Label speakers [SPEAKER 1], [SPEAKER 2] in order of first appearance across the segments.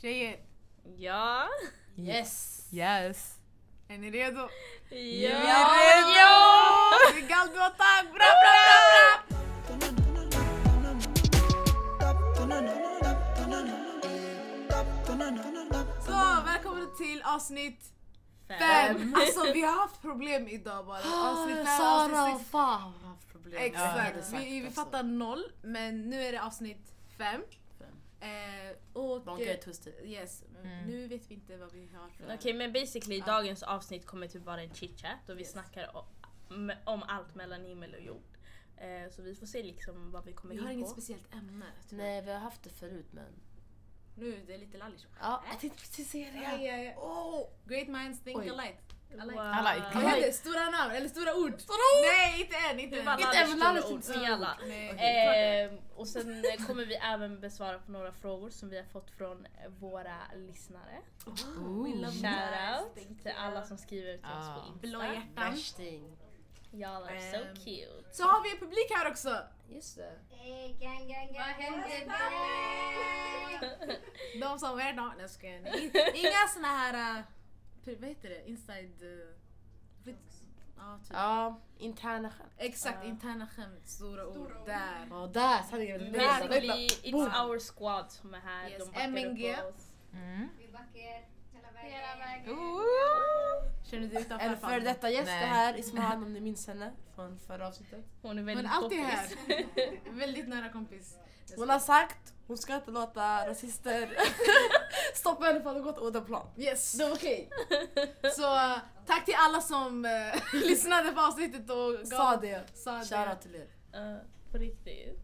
[SPEAKER 1] Tjejer,
[SPEAKER 2] Ja.
[SPEAKER 3] Yes!
[SPEAKER 4] Yes!
[SPEAKER 1] är ni redo?
[SPEAKER 2] Ja.
[SPEAKER 4] Ja!
[SPEAKER 1] Vi galdåtar! Bra, bra, bra, bra! Så, välkomna till avsnitt
[SPEAKER 2] Fem.
[SPEAKER 1] 5! Alltså vi har haft problem idag bara. Avsnitt 5,
[SPEAKER 3] Ah, Sara
[SPEAKER 1] avsnitt
[SPEAKER 3] och
[SPEAKER 1] 6.
[SPEAKER 3] Fa har haft problem. Jag hade
[SPEAKER 1] Exakt,
[SPEAKER 3] sagt
[SPEAKER 1] vi, vi
[SPEAKER 3] alltså.
[SPEAKER 1] fattar noll men nu är det avsnitt 5.
[SPEAKER 3] Fem.
[SPEAKER 1] Eh, och... eh,
[SPEAKER 3] Don't get twisted.
[SPEAKER 1] Yes, men
[SPEAKER 4] Mm.
[SPEAKER 1] nu vet vi inte vad vi har för...
[SPEAKER 2] Okej men basically
[SPEAKER 1] Ja.
[SPEAKER 2] dagens avsnitt kommer typ vara en chitchat och vi
[SPEAKER 1] Yes.
[SPEAKER 2] snackar om, m- om allt mellan himmel och jord. Eh, så vi får se liksom vad vi kommer
[SPEAKER 1] Vi har
[SPEAKER 2] in
[SPEAKER 1] inget
[SPEAKER 2] på.
[SPEAKER 1] speciellt ämne. tyvärr.
[SPEAKER 3] Nej, vi har haft det förut men...
[SPEAKER 1] Nu, det är lite lallish.
[SPEAKER 3] Ja, jag tänkte precis säga
[SPEAKER 1] Ja,
[SPEAKER 3] det.
[SPEAKER 1] ja, ja.
[SPEAKER 3] Åh!
[SPEAKER 1] Great minds think
[SPEAKER 3] Oj.
[SPEAKER 1] alike. alike.
[SPEAKER 2] Wow.
[SPEAKER 4] I like.
[SPEAKER 1] Vad
[SPEAKER 3] Alike.
[SPEAKER 1] heter det? Stora namn eller stora ord?
[SPEAKER 3] Stora ord!
[SPEAKER 1] Nej, inte än. Inte
[SPEAKER 2] Det
[SPEAKER 1] än.
[SPEAKER 2] var
[SPEAKER 3] Inte
[SPEAKER 2] Lallis
[SPEAKER 3] även
[SPEAKER 2] stora
[SPEAKER 3] Lallis
[SPEAKER 2] ord,
[SPEAKER 3] inte
[SPEAKER 2] ni alla.
[SPEAKER 1] Nej.
[SPEAKER 2] Eh, och sen eh, kommer vi även besvara på några frågor som vi har fått från eh, våra lyssnare.
[SPEAKER 4] Ooh.
[SPEAKER 3] Mm.
[SPEAKER 2] Shoutout till alla som skriver till oss
[SPEAKER 4] Ah.
[SPEAKER 2] på Insta.
[SPEAKER 1] Blå hjärtan.
[SPEAKER 3] Värsting.
[SPEAKER 2] Y'all are so
[SPEAKER 1] Ehm.
[SPEAKER 2] cute.
[SPEAKER 1] Så har vi en publik här också.
[SPEAKER 3] Just det.
[SPEAKER 5] Eh, Vad hände där?
[SPEAKER 1] De som är dag. Nej jag skojar. In- Inga såna här, eh, pri- vad heter det, inside... eh, vet- Ja, typ.
[SPEAKER 3] Ja, interna skämt.
[SPEAKER 1] Exakt,
[SPEAKER 2] Ja.
[SPEAKER 1] interna skämt, stora ord där.
[SPEAKER 3] Ja, där sanningen.
[SPEAKER 2] Men
[SPEAKER 3] Vänta, vänta.
[SPEAKER 2] Basically, it's our squad som är här.
[SPEAKER 1] Yes,
[SPEAKER 2] De backar
[SPEAKER 1] MNG.
[SPEAKER 2] upp oss.
[SPEAKER 4] Mm.
[SPEAKER 5] Vi backar hela vägen.
[SPEAKER 1] Känner du dig utanför?
[SPEAKER 3] En före detta gäst
[SPEAKER 4] Nej.
[SPEAKER 3] är här, Ismahan om ni minns henne från förra avsnittet.
[SPEAKER 2] Hon är väldigt
[SPEAKER 1] Hon är alltid
[SPEAKER 2] poppis.
[SPEAKER 1] Väldigt nära kompis.
[SPEAKER 3] Hon har sagt hon ska inte låta rasister stoppa henne från att gå till Odenplan.
[SPEAKER 1] Yes!
[SPEAKER 3] Det var okej.
[SPEAKER 1] Så eh, tack till alla som eh, lyssnade på avsnittet och gav,
[SPEAKER 3] Sa det.
[SPEAKER 1] sa det.
[SPEAKER 3] Shoutout till er.
[SPEAKER 2] Ja, på riktigt.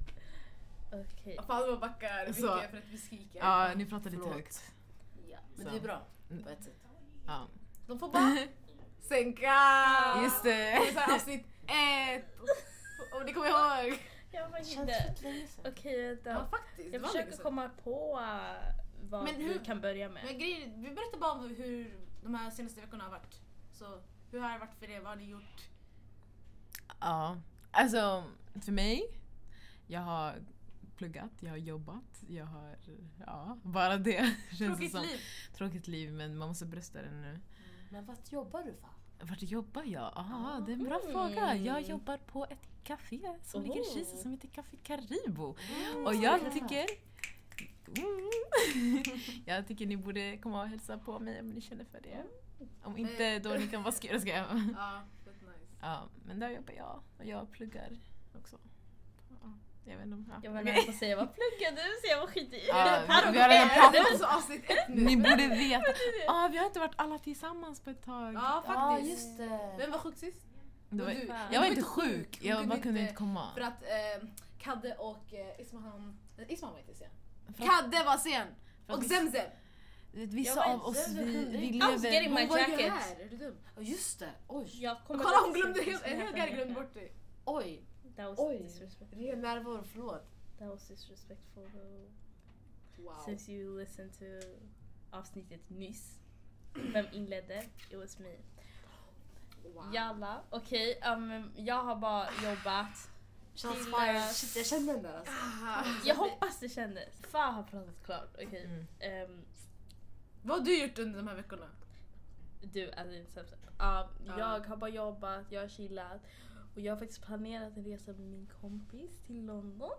[SPEAKER 2] Okej.
[SPEAKER 1] Fan vad backar mycket
[SPEAKER 4] Så.
[SPEAKER 1] för att vi skriker.
[SPEAKER 4] Ja, ni pratar lite
[SPEAKER 3] Förlåt.
[SPEAKER 4] högt.
[SPEAKER 3] Men
[SPEAKER 4] Så.
[SPEAKER 3] det är bra.
[SPEAKER 4] Mm.
[SPEAKER 3] På ett sätt.
[SPEAKER 4] Ja.
[SPEAKER 1] De får bara sänka.
[SPEAKER 4] Just
[SPEAKER 1] Det
[SPEAKER 4] det!
[SPEAKER 1] är så här avsnitt ett. Om ni kommer ihåg.
[SPEAKER 2] Jag var
[SPEAKER 3] Känns
[SPEAKER 2] inte...
[SPEAKER 3] fett länge sedan.
[SPEAKER 2] Okej,
[SPEAKER 1] Ja
[SPEAKER 2] vänta.
[SPEAKER 1] faktiskt. det
[SPEAKER 2] Jag
[SPEAKER 1] var länge
[SPEAKER 2] försöker
[SPEAKER 1] sedan.
[SPEAKER 2] komma på eh, vad
[SPEAKER 1] Men
[SPEAKER 2] vi
[SPEAKER 1] hur-
[SPEAKER 2] kan börja med.
[SPEAKER 1] Men grejen, vi berättar bara om hur de här senaste veckorna har varit. Så hur har det varit för er? Vad har ni gjort?
[SPEAKER 4] Ja. Alltså, för mig, jag har pluggat, jag har jobbat, jag har... Ja, bara det. Känns det
[SPEAKER 1] Tråkigt
[SPEAKER 4] som.
[SPEAKER 1] liv.
[SPEAKER 4] Tråkigt liv, men man måste brösta det nu.
[SPEAKER 3] Mm. Men vart jobbar du fan?
[SPEAKER 4] Vart jobbar jag? Ah, det är en bra
[SPEAKER 2] Mm.
[SPEAKER 4] fråga. Jag jobbar på ett café som ligger
[SPEAKER 3] Oh.
[SPEAKER 4] i Kisa
[SPEAKER 2] Oho.
[SPEAKER 4] som heter Café Karibo. Och jag tycker... Mm. jag tycker ni borde komma och hälsa på mig om ni känner för det.
[SPEAKER 3] Mm.
[SPEAKER 4] Om inte, då ni kan vara skura. Ska jag.
[SPEAKER 1] Ja, fett nice.
[SPEAKER 4] Ja, men där jobbar jag och jag pluggar också. Ja, jag vet inte om... Ja.
[SPEAKER 2] Jag var nära på att säga vad pluggar du? Så jag var skit i.
[SPEAKER 4] Ja,
[SPEAKER 2] Här
[SPEAKER 4] vi
[SPEAKER 2] och
[SPEAKER 4] har redan
[SPEAKER 2] där.
[SPEAKER 1] Det var så avsnitt ett nu.
[SPEAKER 4] Ni borde veta. Ah, vi har inte varit alla tillsammans på ett tag.
[SPEAKER 1] Ja
[SPEAKER 3] Ja
[SPEAKER 1] faktiskt.
[SPEAKER 3] just det.
[SPEAKER 1] Vem var sjuk sist?
[SPEAKER 4] Det var,
[SPEAKER 1] Du-
[SPEAKER 2] Fan.
[SPEAKER 4] jag var
[SPEAKER 1] du
[SPEAKER 4] inte sjuk,
[SPEAKER 1] Hon
[SPEAKER 4] jag bara kunde inte komma.
[SPEAKER 1] För att eh, Kadde och eh, Ismahan... eh, Ismahan var inte sen. Kadde var sen!
[SPEAKER 4] För att
[SPEAKER 1] Och
[SPEAKER 4] vi-
[SPEAKER 1] Zemzem!
[SPEAKER 4] Vissa
[SPEAKER 2] Jag
[SPEAKER 4] av
[SPEAKER 2] var
[SPEAKER 4] oss,
[SPEAKER 3] ensam, jag
[SPEAKER 4] vi,
[SPEAKER 3] kunde
[SPEAKER 4] vi
[SPEAKER 3] inte-
[SPEAKER 2] I was getting
[SPEAKER 4] lever...
[SPEAKER 2] my
[SPEAKER 1] Hon var ju
[SPEAKER 2] jacket.
[SPEAKER 1] här, är du dum?
[SPEAKER 3] Ja just det. Oj.
[SPEAKER 2] Jag kommer
[SPEAKER 1] Kolla hon
[SPEAKER 2] faktiskt
[SPEAKER 1] glömde
[SPEAKER 2] inte
[SPEAKER 1] helt, en
[SPEAKER 2] ihåg
[SPEAKER 1] hel
[SPEAKER 2] vad
[SPEAKER 1] gärg
[SPEAKER 2] den
[SPEAKER 1] glömde
[SPEAKER 2] heter.
[SPEAKER 1] bort dig.
[SPEAKER 3] Oj.
[SPEAKER 2] That was
[SPEAKER 3] Oj.
[SPEAKER 2] disrespectful.
[SPEAKER 3] Ren närvaro, förlåt.
[SPEAKER 2] That was disrespectful though.
[SPEAKER 1] Wow.
[SPEAKER 2] Since you listened to avsnittet nyss. Vem inledde? It was me.
[SPEAKER 1] wow.
[SPEAKER 2] Jalla. Okej, um, jag har bara jobbat.
[SPEAKER 3] Shots
[SPEAKER 2] Till,
[SPEAKER 3] fired.
[SPEAKER 2] eh,
[SPEAKER 3] Shit jag känner den där alltså.
[SPEAKER 1] Ah.
[SPEAKER 2] Jag hoppas det kändes. Fan har pratat klart. Okej.
[SPEAKER 4] Mm.
[SPEAKER 2] Ehm,
[SPEAKER 1] Vad har du gjort under de här veckorna?
[SPEAKER 2] du, alltså inte sämst. Ja,
[SPEAKER 1] Ja.
[SPEAKER 2] Jag har bara jobbat, jag har chillat. Och jag har faktiskt planerat en resa med min kompis till London.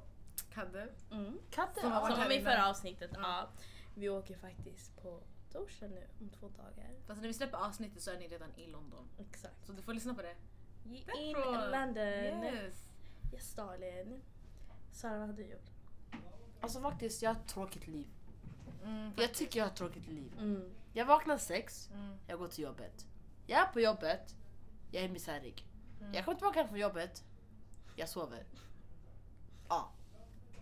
[SPEAKER 1] Kadde?
[SPEAKER 2] Mm.
[SPEAKER 3] Katten.
[SPEAKER 1] Som har
[SPEAKER 2] Som
[SPEAKER 1] varit
[SPEAKER 2] var
[SPEAKER 1] här
[SPEAKER 2] med i
[SPEAKER 1] innan.
[SPEAKER 2] förra avsnittet.
[SPEAKER 1] Ja.
[SPEAKER 2] Ja. Vi åker faktiskt på torsdag nu, om två dagar.
[SPEAKER 1] Fast när vi släpper avsnittet så är ni redan i London.
[SPEAKER 2] Exakt.
[SPEAKER 1] Så du får lyssna på det.
[SPEAKER 2] In
[SPEAKER 1] Därifrån.
[SPEAKER 2] London.
[SPEAKER 1] Yes.
[SPEAKER 2] Yes darling. Sara vad har du gjort?
[SPEAKER 3] Alltså faktiskt jag har ett tråkigt liv.
[SPEAKER 1] Mm,
[SPEAKER 3] Jag tycker jag har ett tråkigt liv.
[SPEAKER 2] Mm.
[SPEAKER 3] Jag vaknar sex,
[SPEAKER 1] mm,
[SPEAKER 3] jag går till jobbet. Jag är på jobbet, jag är misärig.
[SPEAKER 1] mm.
[SPEAKER 3] Jag kommer tillbaka från jobbet, jag sover. Ja.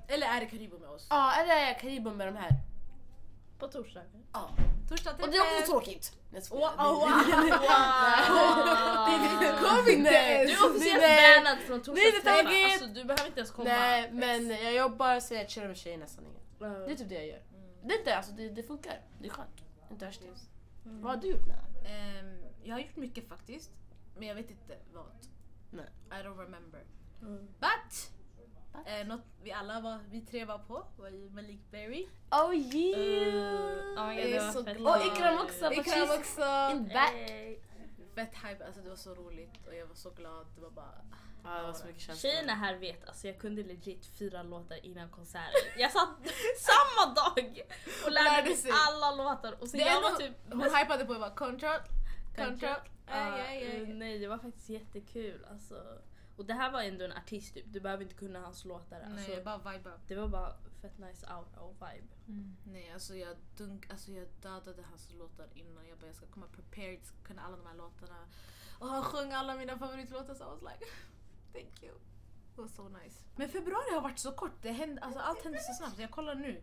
[SPEAKER 1] Eller är det Karibo med oss?
[SPEAKER 3] Ja, eller är jag Karibo med de här.
[SPEAKER 2] På torsdag.
[SPEAKER 3] Ja.
[SPEAKER 1] Torsdag
[SPEAKER 3] Och det är också tråkigt. Jag skojar.
[SPEAKER 1] Wow, wow,
[SPEAKER 3] Kom inte ens!
[SPEAKER 2] Du är officiellt
[SPEAKER 3] Nej.
[SPEAKER 2] bannad från torsdag
[SPEAKER 3] Nej, det är tråkigt.
[SPEAKER 2] Alltså du behöver inte ens komma.
[SPEAKER 3] Nej men jag jobbar så jag chillar med tjejerna sanningen.
[SPEAKER 2] Mm.
[SPEAKER 3] Det är typ det jag gör. Det, är inte, alltså, det, det funkar, det är skönt. Inte värst.
[SPEAKER 2] Mm.
[SPEAKER 3] Vad har du gjort Nana?
[SPEAKER 1] Ehm, jag har gjort mycket faktiskt. Men jag vet inte vad.
[SPEAKER 3] Nej.
[SPEAKER 1] I don't remember.
[SPEAKER 2] Mm.
[SPEAKER 1] But!
[SPEAKER 3] But.
[SPEAKER 1] Eh, något vi alla var, vi tre var på var ju Malik Berry.
[SPEAKER 3] Oh
[SPEAKER 2] Uh, oh my
[SPEAKER 3] så
[SPEAKER 2] Fett
[SPEAKER 1] Och
[SPEAKER 2] nice.
[SPEAKER 1] Ikram också! but
[SPEAKER 3] Ikram
[SPEAKER 1] she's
[SPEAKER 3] också.
[SPEAKER 1] In back.
[SPEAKER 2] Hey.
[SPEAKER 1] Fett hype, alltså det var så roligt och jag var så glad. Det var bara...
[SPEAKER 3] Ja, det var så mycket känslor.
[SPEAKER 2] Tjejerna här vet, alltså jag kunde legit fyra låtar innan konserten. Jag satt samma dag och lärde,
[SPEAKER 1] Lärde
[SPEAKER 2] mig
[SPEAKER 1] sig.
[SPEAKER 2] alla låtar. Och sen
[SPEAKER 1] Det
[SPEAKER 2] jag
[SPEAKER 1] enda
[SPEAKER 2] var typ...
[SPEAKER 1] Hon hypade på och bara control, control.
[SPEAKER 2] Ja,
[SPEAKER 1] Aj, aj,
[SPEAKER 2] eh,
[SPEAKER 1] aj.
[SPEAKER 2] Nej, det var faktiskt jättekul alltså. Och det här var ändå en artist typ, du behöver inte kunna hans låtar.
[SPEAKER 1] Nej,
[SPEAKER 2] Alltså,
[SPEAKER 1] jag bara vibe.
[SPEAKER 2] det var bara fett nice aura och vibe.
[SPEAKER 1] Nej, alltså jag, dunk, alltså jag dödade hans låtar innan. Jag bara, jag ska komma prepared, ska kunna alla de här låtarna. Och han sjöng alla mina favoritlåtar så I was like, thank you. Det var så nice. Men februari har varit så kort, det hände, alltså allt hände så snabbt. Jag kollar nu.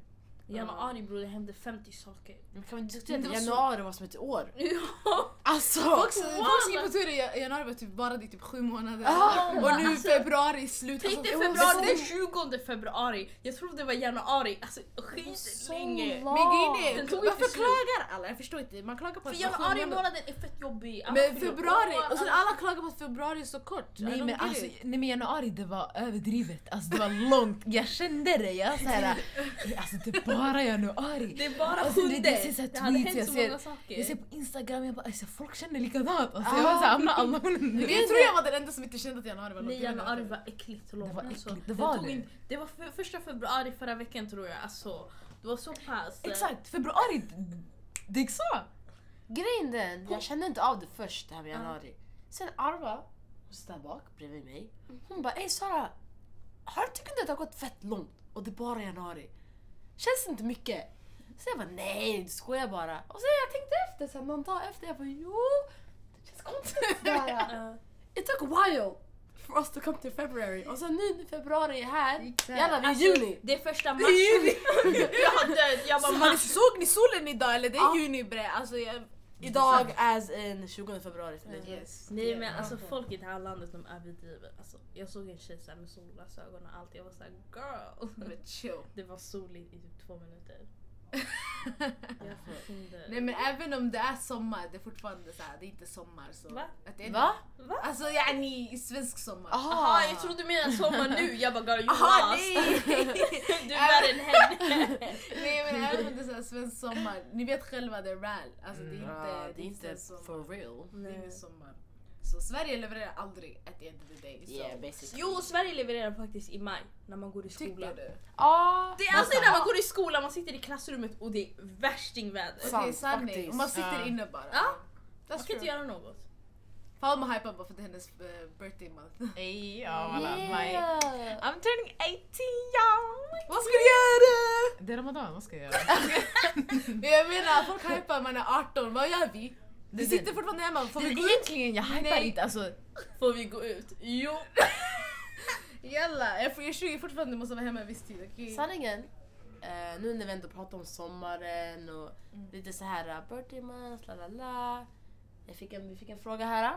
[SPEAKER 1] "Ah,
[SPEAKER 2] Januari bror, det hände 50 saker.
[SPEAKER 3] Men Kan vi diskutera
[SPEAKER 1] Men det
[SPEAKER 3] att
[SPEAKER 1] var så-
[SPEAKER 3] januari var som ett år? Alltså!
[SPEAKER 1] Folk, folk skriver på Twitter i januari var typ bara det är typ sju månader.
[SPEAKER 3] Ah,
[SPEAKER 1] och nu februari är slut. Alltså,
[SPEAKER 2] Tänk
[SPEAKER 1] det
[SPEAKER 2] dig
[SPEAKER 1] var
[SPEAKER 2] februari,
[SPEAKER 1] så-
[SPEAKER 2] den 20 februari. Jag trodde det var januari, alltså skit länge.
[SPEAKER 1] Men grejen är,
[SPEAKER 2] Den tog
[SPEAKER 1] varför
[SPEAKER 2] inte slut.
[SPEAKER 1] klagar alla? Jag förstår inte. Man klagar på
[SPEAKER 2] För
[SPEAKER 1] att det var sju
[SPEAKER 2] januari
[SPEAKER 1] månader.
[SPEAKER 2] månaden är fett jobbig. Alla
[SPEAKER 1] Men
[SPEAKER 2] fyller
[SPEAKER 1] februari,
[SPEAKER 2] år,
[SPEAKER 1] och
[SPEAKER 4] Alltså,
[SPEAKER 1] sen
[SPEAKER 2] alla-
[SPEAKER 1] alla klagar på att februari är så kort. I
[SPEAKER 4] Nej
[SPEAKER 1] don't
[SPEAKER 4] men,
[SPEAKER 1] get
[SPEAKER 4] alltså,
[SPEAKER 1] it.
[SPEAKER 4] nej men januari det var överdrivet, alltså det var långt. Jag kände det. Jag såhär, alltså det är bara januari.
[SPEAKER 2] Det är bara
[SPEAKER 4] Alltså, det-
[SPEAKER 2] sjunde.
[SPEAKER 4] det ser så här
[SPEAKER 2] Det hade
[SPEAKER 4] tweets,
[SPEAKER 2] hänt
[SPEAKER 4] jag
[SPEAKER 2] så
[SPEAKER 4] ser-
[SPEAKER 2] många saker.
[SPEAKER 4] Jag ser på instagram, jag bara alltså, folk känner likadant. Alltså, jag var såhär, hamnar alla
[SPEAKER 1] Men
[SPEAKER 4] nu.
[SPEAKER 1] jag tror jag var den enda som inte kände att januari var långt.
[SPEAKER 2] Nej,
[SPEAKER 1] Jag vet
[SPEAKER 2] januari
[SPEAKER 1] inte.
[SPEAKER 2] var äckligt och
[SPEAKER 4] Det
[SPEAKER 2] långt.
[SPEAKER 4] var
[SPEAKER 2] alltså.
[SPEAKER 4] äckligt, det var
[SPEAKER 2] tog
[SPEAKER 4] det.
[SPEAKER 2] in- det var för, första februari förra veckan tror jag. Alltså, det var så pass... eh,
[SPEAKER 4] Exakt, februari, det gick så.
[SPEAKER 3] Grejen den, jag kände inte av det först det här med januari. Sen Arva, hon sitter där bak bredvid mig. Hon bara ey Sara, har du tyckt att det har gått fett långt och det är bara januari? Känns inte mycket? Så jag bara nej, du skojar bara. Och sen jag tänkte efter sen någon dag efter, jag bara jo, det känns konstigt sådär.
[SPEAKER 2] eh,
[SPEAKER 3] It took a while for us to come to February. Och sen nu när februari är här,
[SPEAKER 1] Exakt.
[SPEAKER 3] jävlar vi är i juni.
[SPEAKER 2] Alltså, det är första mars. jag död. Jag bara
[SPEAKER 1] Men
[SPEAKER 2] mars.
[SPEAKER 1] såg ni solen idag eller? Det är
[SPEAKER 3] Ja.
[SPEAKER 1] juni bre. Alltså jag...
[SPEAKER 3] Idag as in 20 februari för dig.
[SPEAKER 1] Yes.
[SPEAKER 2] Nej men alltså folk i det här landet de överdriver. Alltså, jag såg en tjej så här med solglasögon och allt. Jag var såhär girl.
[SPEAKER 1] Men chill.
[SPEAKER 2] Det var soligt i typ två minuter. Jag fick hinder.
[SPEAKER 1] Nej men även om det är sommar, det är fortfarande så här, det är inte sommar så.
[SPEAKER 2] Va?
[SPEAKER 1] Att det är
[SPEAKER 3] Va?
[SPEAKER 1] Alltså yani, i svensk sommar.
[SPEAKER 2] Jaha jag trodde du menade sommar nu. Jag bara girl you
[SPEAKER 1] Ah. Aha,
[SPEAKER 2] lost.
[SPEAKER 1] nej!
[SPEAKER 2] Du är värre än henne.
[SPEAKER 1] nej men även om det är så här, svensk sommar, ni vet själva det är RAL. Alltså det är inte,
[SPEAKER 3] Mm. Ja,
[SPEAKER 1] det är inte sommar.
[SPEAKER 3] for real.
[SPEAKER 1] Det är ingen sommar. Så Sverige levererar aldrig at the end of the day. Så.
[SPEAKER 3] Yeah, basically.
[SPEAKER 2] Jo, Sverige levererar faktiskt i maj när man går i skolan.
[SPEAKER 1] Tycker du?
[SPEAKER 3] Ja,
[SPEAKER 2] Det är alltid när man går i skolan, man sitter i klassrummet och det är värstingväder.
[SPEAKER 1] Okej,
[SPEAKER 3] Sant,
[SPEAKER 1] sanning.
[SPEAKER 3] faktiskt.
[SPEAKER 1] Om man sitter
[SPEAKER 4] Ja.
[SPEAKER 1] inne bara. "Ah,
[SPEAKER 2] Ja. Man
[SPEAKER 1] That's
[SPEAKER 2] kan inte
[SPEAKER 1] true.
[SPEAKER 2] göra något.
[SPEAKER 1] Palma hypar bara för att det är hennes eh, birthday month.
[SPEAKER 4] Ey, ja voilà. My,
[SPEAKER 3] Yeah.
[SPEAKER 4] I'm turning 18 y'all!
[SPEAKER 1] Vad ska du göra?
[SPEAKER 4] Det är ramadan, vad ska jag göra?
[SPEAKER 1] Men jag menar, folk hypar man är 18, vad gör vi?
[SPEAKER 4] Det
[SPEAKER 1] Vi
[SPEAKER 4] är
[SPEAKER 1] sitter
[SPEAKER 4] det.
[SPEAKER 1] fortfarande hemma, får
[SPEAKER 4] Det
[SPEAKER 1] vi
[SPEAKER 4] är
[SPEAKER 1] gå ut?
[SPEAKER 4] Egentligen, jag hypar
[SPEAKER 1] Nej.
[SPEAKER 4] inte. Alltså,
[SPEAKER 2] Får vi gå ut? Jo!
[SPEAKER 1] Jalla, jag får- jag är 20 fortfarande, måste vara hemma en viss tid. okej?
[SPEAKER 3] Sanningen, eh, nu när vi ändå pratar om sommaren och lite så här eh, birthday month, la la la. Jag fick en, vi fick en fråga här. eh.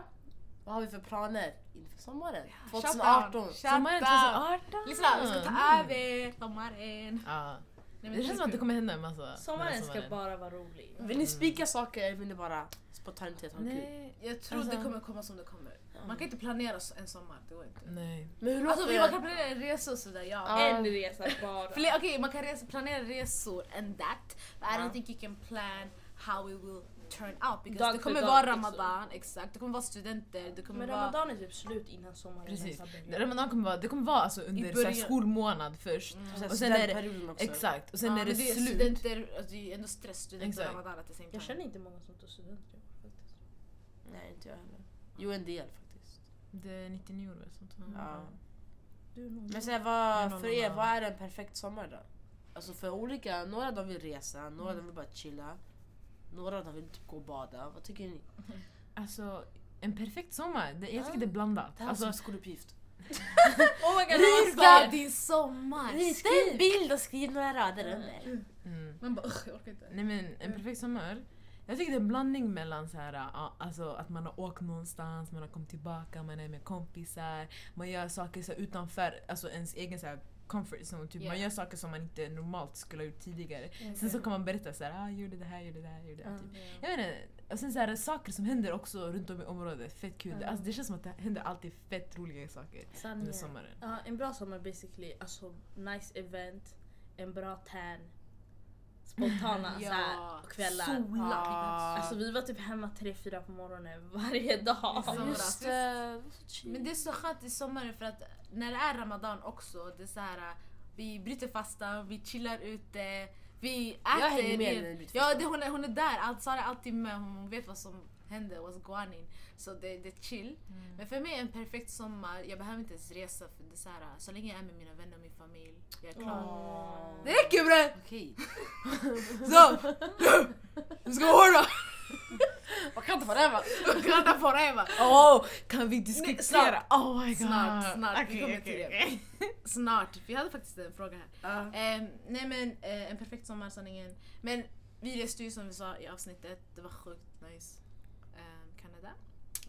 [SPEAKER 3] Vad har vi för planer inför sommaren?
[SPEAKER 1] Shut
[SPEAKER 3] 2018.
[SPEAKER 1] down, shut
[SPEAKER 4] sommaren typ
[SPEAKER 1] down.
[SPEAKER 4] 2018.
[SPEAKER 1] Lyssna, vi ska ta över sommaren.
[SPEAKER 4] Ja.
[SPEAKER 1] Nej, men
[SPEAKER 4] Det känns som att det kommer hända en massa.
[SPEAKER 2] Sommaren
[SPEAKER 4] den
[SPEAKER 2] ska bara vara rolig.
[SPEAKER 3] Vill ni spika saker eller vill ni bara spontant ha kul?
[SPEAKER 4] Nej.
[SPEAKER 1] Jag tror
[SPEAKER 4] Alltså-
[SPEAKER 1] det kommer komma som det kommer. Man kan inte planera så- en sommar, det går inte.
[SPEAKER 4] Nej.
[SPEAKER 3] Men hur
[SPEAKER 1] Alltså
[SPEAKER 3] låter
[SPEAKER 1] man kan planera resor och sådär, ja.
[SPEAKER 3] Ja.
[SPEAKER 2] En resa bara.
[SPEAKER 1] Fler, Okej, man kan resa, planera resor and that. But I
[SPEAKER 3] Ja.
[SPEAKER 1] don't think you can plan how it will turn out. Because
[SPEAKER 2] Uh-huh. Dag
[SPEAKER 1] det
[SPEAKER 2] för
[SPEAKER 1] kommer
[SPEAKER 2] dag,
[SPEAKER 1] vara
[SPEAKER 2] liksom.
[SPEAKER 1] ramadan, exakt. Det kommer vara studenter, det kommer
[SPEAKER 2] Men
[SPEAKER 1] vara...
[SPEAKER 2] ramadan är typ slut innan sommaren
[SPEAKER 4] Precis.
[SPEAKER 2] ens har börjat.
[SPEAKER 4] Ramadan kommer vara, det kommer vara alltså
[SPEAKER 1] I
[SPEAKER 4] under så
[SPEAKER 1] början.
[SPEAKER 4] här, skolmånad först.
[SPEAKER 3] Och
[SPEAKER 4] Och
[SPEAKER 3] sen
[SPEAKER 4] sen är det-
[SPEAKER 3] perioden också.
[SPEAKER 4] Exakt. Och sen
[SPEAKER 1] Ja,
[SPEAKER 4] är
[SPEAKER 1] men
[SPEAKER 4] det,
[SPEAKER 1] är
[SPEAKER 4] slut.
[SPEAKER 1] Studenter, alltså, det är ändå stress, studenter och
[SPEAKER 4] Exakt.
[SPEAKER 1] ramadan at the same
[SPEAKER 2] Jag
[SPEAKER 1] time.
[SPEAKER 2] känner inte många som tar studenten. faktiskt.
[SPEAKER 3] Nej, inte jag heller. Jo, en del faktiskt.
[SPEAKER 4] Det är 99 euro eller sånt.
[SPEAKER 3] Ja.
[SPEAKER 2] Du är nog-
[SPEAKER 3] Men så här,
[SPEAKER 4] Det är
[SPEAKER 3] vad,
[SPEAKER 4] någon
[SPEAKER 3] för er,
[SPEAKER 4] annan.
[SPEAKER 3] vad är en perfekt sommar då? Alltså för olika, några de vill resa, några de vill bara chilla. Några de vill typ gå och bada. Vad tycker ni?
[SPEAKER 4] Alltså, en perfekt sommar. Det, jag tycker det är blandat.
[SPEAKER 3] Det här var som
[SPEAKER 4] Alltså,
[SPEAKER 3] en skoluppgift.
[SPEAKER 2] Oh my god, det var
[SPEAKER 1] Rita
[SPEAKER 2] skoj.
[SPEAKER 1] din sommar!
[SPEAKER 3] Rita en bild och skriv några rader under.
[SPEAKER 4] mm.
[SPEAKER 1] Man bara "Ugh, jag orkar inte.
[SPEAKER 4] Nej men en perfekt sommar. Jag tycker det är en blandning mellan så här, ja, alltså att man har åkt någonstans, man har kommit tillbaka, man är med kompisar, man gör saker så här, utanför alltså ens egen så här, comfort zone. Typ. Man
[SPEAKER 1] Ja.
[SPEAKER 4] gör saker som man inte normalt skulle ha gjort tidigare. Sen så kan man berätta så här, ah, jag gjorde det här, jag gjorde det här, jag gjorde det här. Typ. Jag vet inte, och sen så här, saker som händer också runt om i området, fett kul.
[SPEAKER 2] Mm.
[SPEAKER 4] Alltså, det känns som att det händer alltid fett roliga saker under
[SPEAKER 2] Sanningen.
[SPEAKER 4] sommaren.
[SPEAKER 2] Ja, en bra sommar basically. Alltså nice event, en bra tan. spontana
[SPEAKER 1] Ja.
[SPEAKER 2] så här, kvällar.
[SPEAKER 1] Sola.
[SPEAKER 3] Ah.
[SPEAKER 2] Alltså vi var typ hemma 3-4 på morgonen varje dag.
[SPEAKER 1] Det är så-
[SPEAKER 3] Just eh, det.
[SPEAKER 1] Men det är så skönt i sommaren för att när det är Ramadan också, det är så här, äh, vi bryter fastan, vi chillar ute, vi äter.
[SPEAKER 3] Jag hänger med
[SPEAKER 1] det-
[SPEAKER 3] när ni bryter
[SPEAKER 1] Ja,
[SPEAKER 3] fastan.
[SPEAKER 1] det, hon, är, hon är där, allt, Sara är alltid med, hon vet vad som händer, what's going in. Så det, det är chill.
[SPEAKER 3] Mm.
[SPEAKER 1] Men för mig är en perfekt sommar, jag behöver inte ens resa för det är så, här, äh, så länge jag är med mina vänner och min familj, jag är klar. Det räcker bre!
[SPEAKER 3] Okej.
[SPEAKER 1] Så! Vi ska hårdra!
[SPEAKER 3] Man kan inte vara det va?
[SPEAKER 1] Glada forever!
[SPEAKER 4] Åh, kan vi diskutera?
[SPEAKER 1] snart.
[SPEAKER 4] Oh my god.
[SPEAKER 1] Snart, snart. Vi
[SPEAKER 4] Okej,
[SPEAKER 1] kommer
[SPEAKER 4] okej,
[SPEAKER 1] till det.
[SPEAKER 4] okej.
[SPEAKER 1] Snart, vi hade faktiskt en fråga här. Ehm, nej men eh, en perfekt sommar sanningen. Men vi reste ju som vi sa i avsnittet, det var sjukt nice. Ehm, Kanada.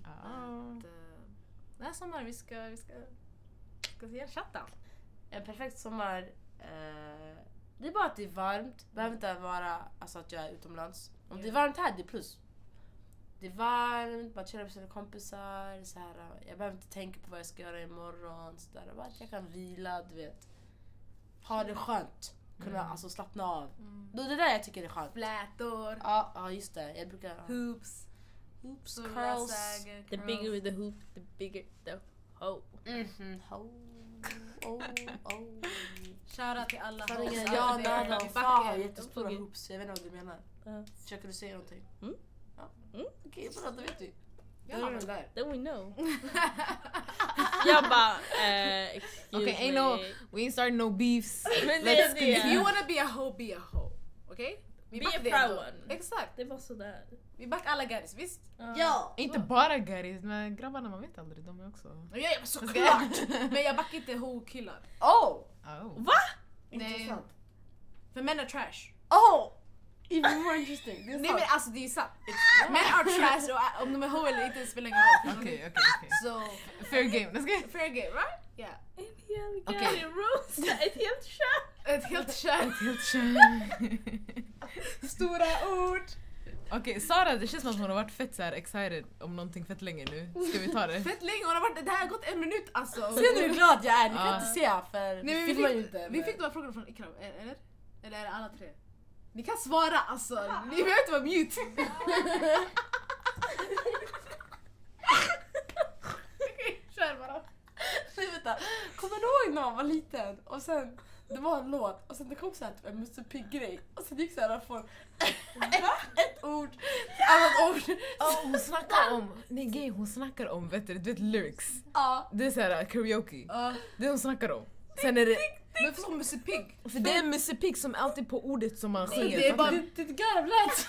[SPEAKER 4] Ah.
[SPEAKER 1] Att, eh, den här sommaren vi ska, vi ska, ska se en chatta.
[SPEAKER 3] En perfekt sommar. eh, det är bara att det är varmt. Det behöver inte vara alltså, att jag är utomlands. Om det är varmt här, det är plus. Det är varmt, man chillar med sina kompisar. Så här, eh, jag behöver inte tänka på vad jag ska göra imorgon. Så där. Bara att jag kan vila, du vet. Ha det skönt. Kunna alltså, slappna av. Då är det där jag tycker det är skönt. Ja,
[SPEAKER 1] Flätor,
[SPEAKER 3] ja, just det. Jag brukar...
[SPEAKER 1] hoops,
[SPEAKER 3] Oops,
[SPEAKER 1] stora
[SPEAKER 3] curls.
[SPEAKER 1] säger,
[SPEAKER 2] The
[SPEAKER 1] curls.
[SPEAKER 2] bigger the hoop, the bigger the hoe.
[SPEAKER 3] Mhm. Oh, oh, oh.
[SPEAKER 1] Shoutout till alla
[SPEAKER 3] Sanningen,
[SPEAKER 1] hosts.
[SPEAKER 3] jag
[SPEAKER 1] Alla
[SPEAKER 3] och
[SPEAKER 1] där
[SPEAKER 3] Nada
[SPEAKER 1] i
[SPEAKER 3] och
[SPEAKER 1] backen.
[SPEAKER 3] Fa har jättestora
[SPEAKER 2] Okej.
[SPEAKER 3] hoops. Jag vet inte vad du menar.
[SPEAKER 2] Ja.
[SPEAKER 3] Försöker du säga någonting?
[SPEAKER 2] Mm.
[SPEAKER 3] Ja.
[SPEAKER 2] Mm.
[SPEAKER 3] Okej, bra då vet vi.
[SPEAKER 1] Ja.
[SPEAKER 3] Då är den där.
[SPEAKER 2] Then we know. jag bara, eh, excuse
[SPEAKER 4] Okej, ain't no-
[SPEAKER 2] me.
[SPEAKER 4] We ain't starting no beefs.
[SPEAKER 2] Men det är
[SPEAKER 4] Let's
[SPEAKER 2] det.
[SPEAKER 1] If you wanna be a hoe, be a hoe. Okej? Vi
[SPEAKER 2] Be
[SPEAKER 1] backar
[SPEAKER 2] a
[SPEAKER 1] det
[SPEAKER 2] proud
[SPEAKER 1] ändå.
[SPEAKER 2] one.
[SPEAKER 1] Exakt,
[SPEAKER 2] Det var sådär.
[SPEAKER 1] vi backar alla gadis, visst?
[SPEAKER 3] Ja!
[SPEAKER 4] Inte bara Garis, men grabbarna man vet aldrig, de är också...
[SPEAKER 1] Ja, ja, men såklart! men jag backar inte ho-killar.
[SPEAKER 3] Oh!
[SPEAKER 4] Oh.
[SPEAKER 2] Va?
[SPEAKER 1] Nej.
[SPEAKER 3] Intressant.
[SPEAKER 1] För män är trash.
[SPEAKER 3] Oh! Even more interesting. Det är
[SPEAKER 1] Nej men
[SPEAKER 3] sant.
[SPEAKER 1] alltså det är sant. Män are trash och ä- om de är ho eller inte spelar ingen roll.
[SPEAKER 4] Okej, okej, okej.
[SPEAKER 1] Så,
[SPEAKER 4] Fair game, let's go.
[SPEAKER 1] fair game right? Yeah.
[SPEAKER 2] En hel
[SPEAKER 4] Okej.
[SPEAKER 2] okay. rosa, ett helt kött.
[SPEAKER 1] Ett helt kön.
[SPEAKER 4] Helt kär.
[SPEAKER 1] Stora ord.
[SPEAKER 4] Okej, Sara det känns som att hon har varit fett så här excited om någonting fett länge nu. Ska vi ta det?
[SPEAKER 1] Fett länge hon har varit det här har gått en minut alltså.
[SPEAKER 3] Ser ni hur glad jag är? Ni kan
[SPEAKER 4] Ja.
[SPEAKER 3] inte se
[SPEAKER 1] Nej,
[SPEAKER 3] för
[SPEAKER 1] men
[SPEAKER 3] vi
[SPEAKER 1] vi,
[SPEAKER 3] filmar ju
[SPEAKER 1] fick,
[SPEAKER 3] inte.
[SPEAKER 1] vi
[SPEAKER 3] men-
[SPEAKER 1] fick de här frågorna från Ikram, e- eller? Eller är det alla tre? Ni kan svara alltså, ni behöver inte vara mute. Okej, Kör bara.
[SPEAKER 3] Nej vänta, typ kommer du ihåg när man var liten och sen det var en låt och sen det kom så här typ en Musse Pigg-grej och sen gick så här från ett, ett ord till annat ord.
[SPEAKER 4] Oh, hon snackar om... Nej gay, hon snackar om vet du, du vet lyrics.
[SPEAKER 3] Ja.
[SPEAKER 4] Det är såhär karaoke.
[SPEAKER 1] Ja.
[SPEAKER 4] Det hon snackar om. Sen är det...
[SPEAKER 1] Men för som Musse Pigg.
[SPEAKER 4] För det är Musse Pigg som alltid på ordet som man
[SPEAKER 3] Alltså,
[SPEAKER 4] sjunger.
[SPEAKER 1] det är bara-
[SPEAKER 3] Ditt, ditt garv lät...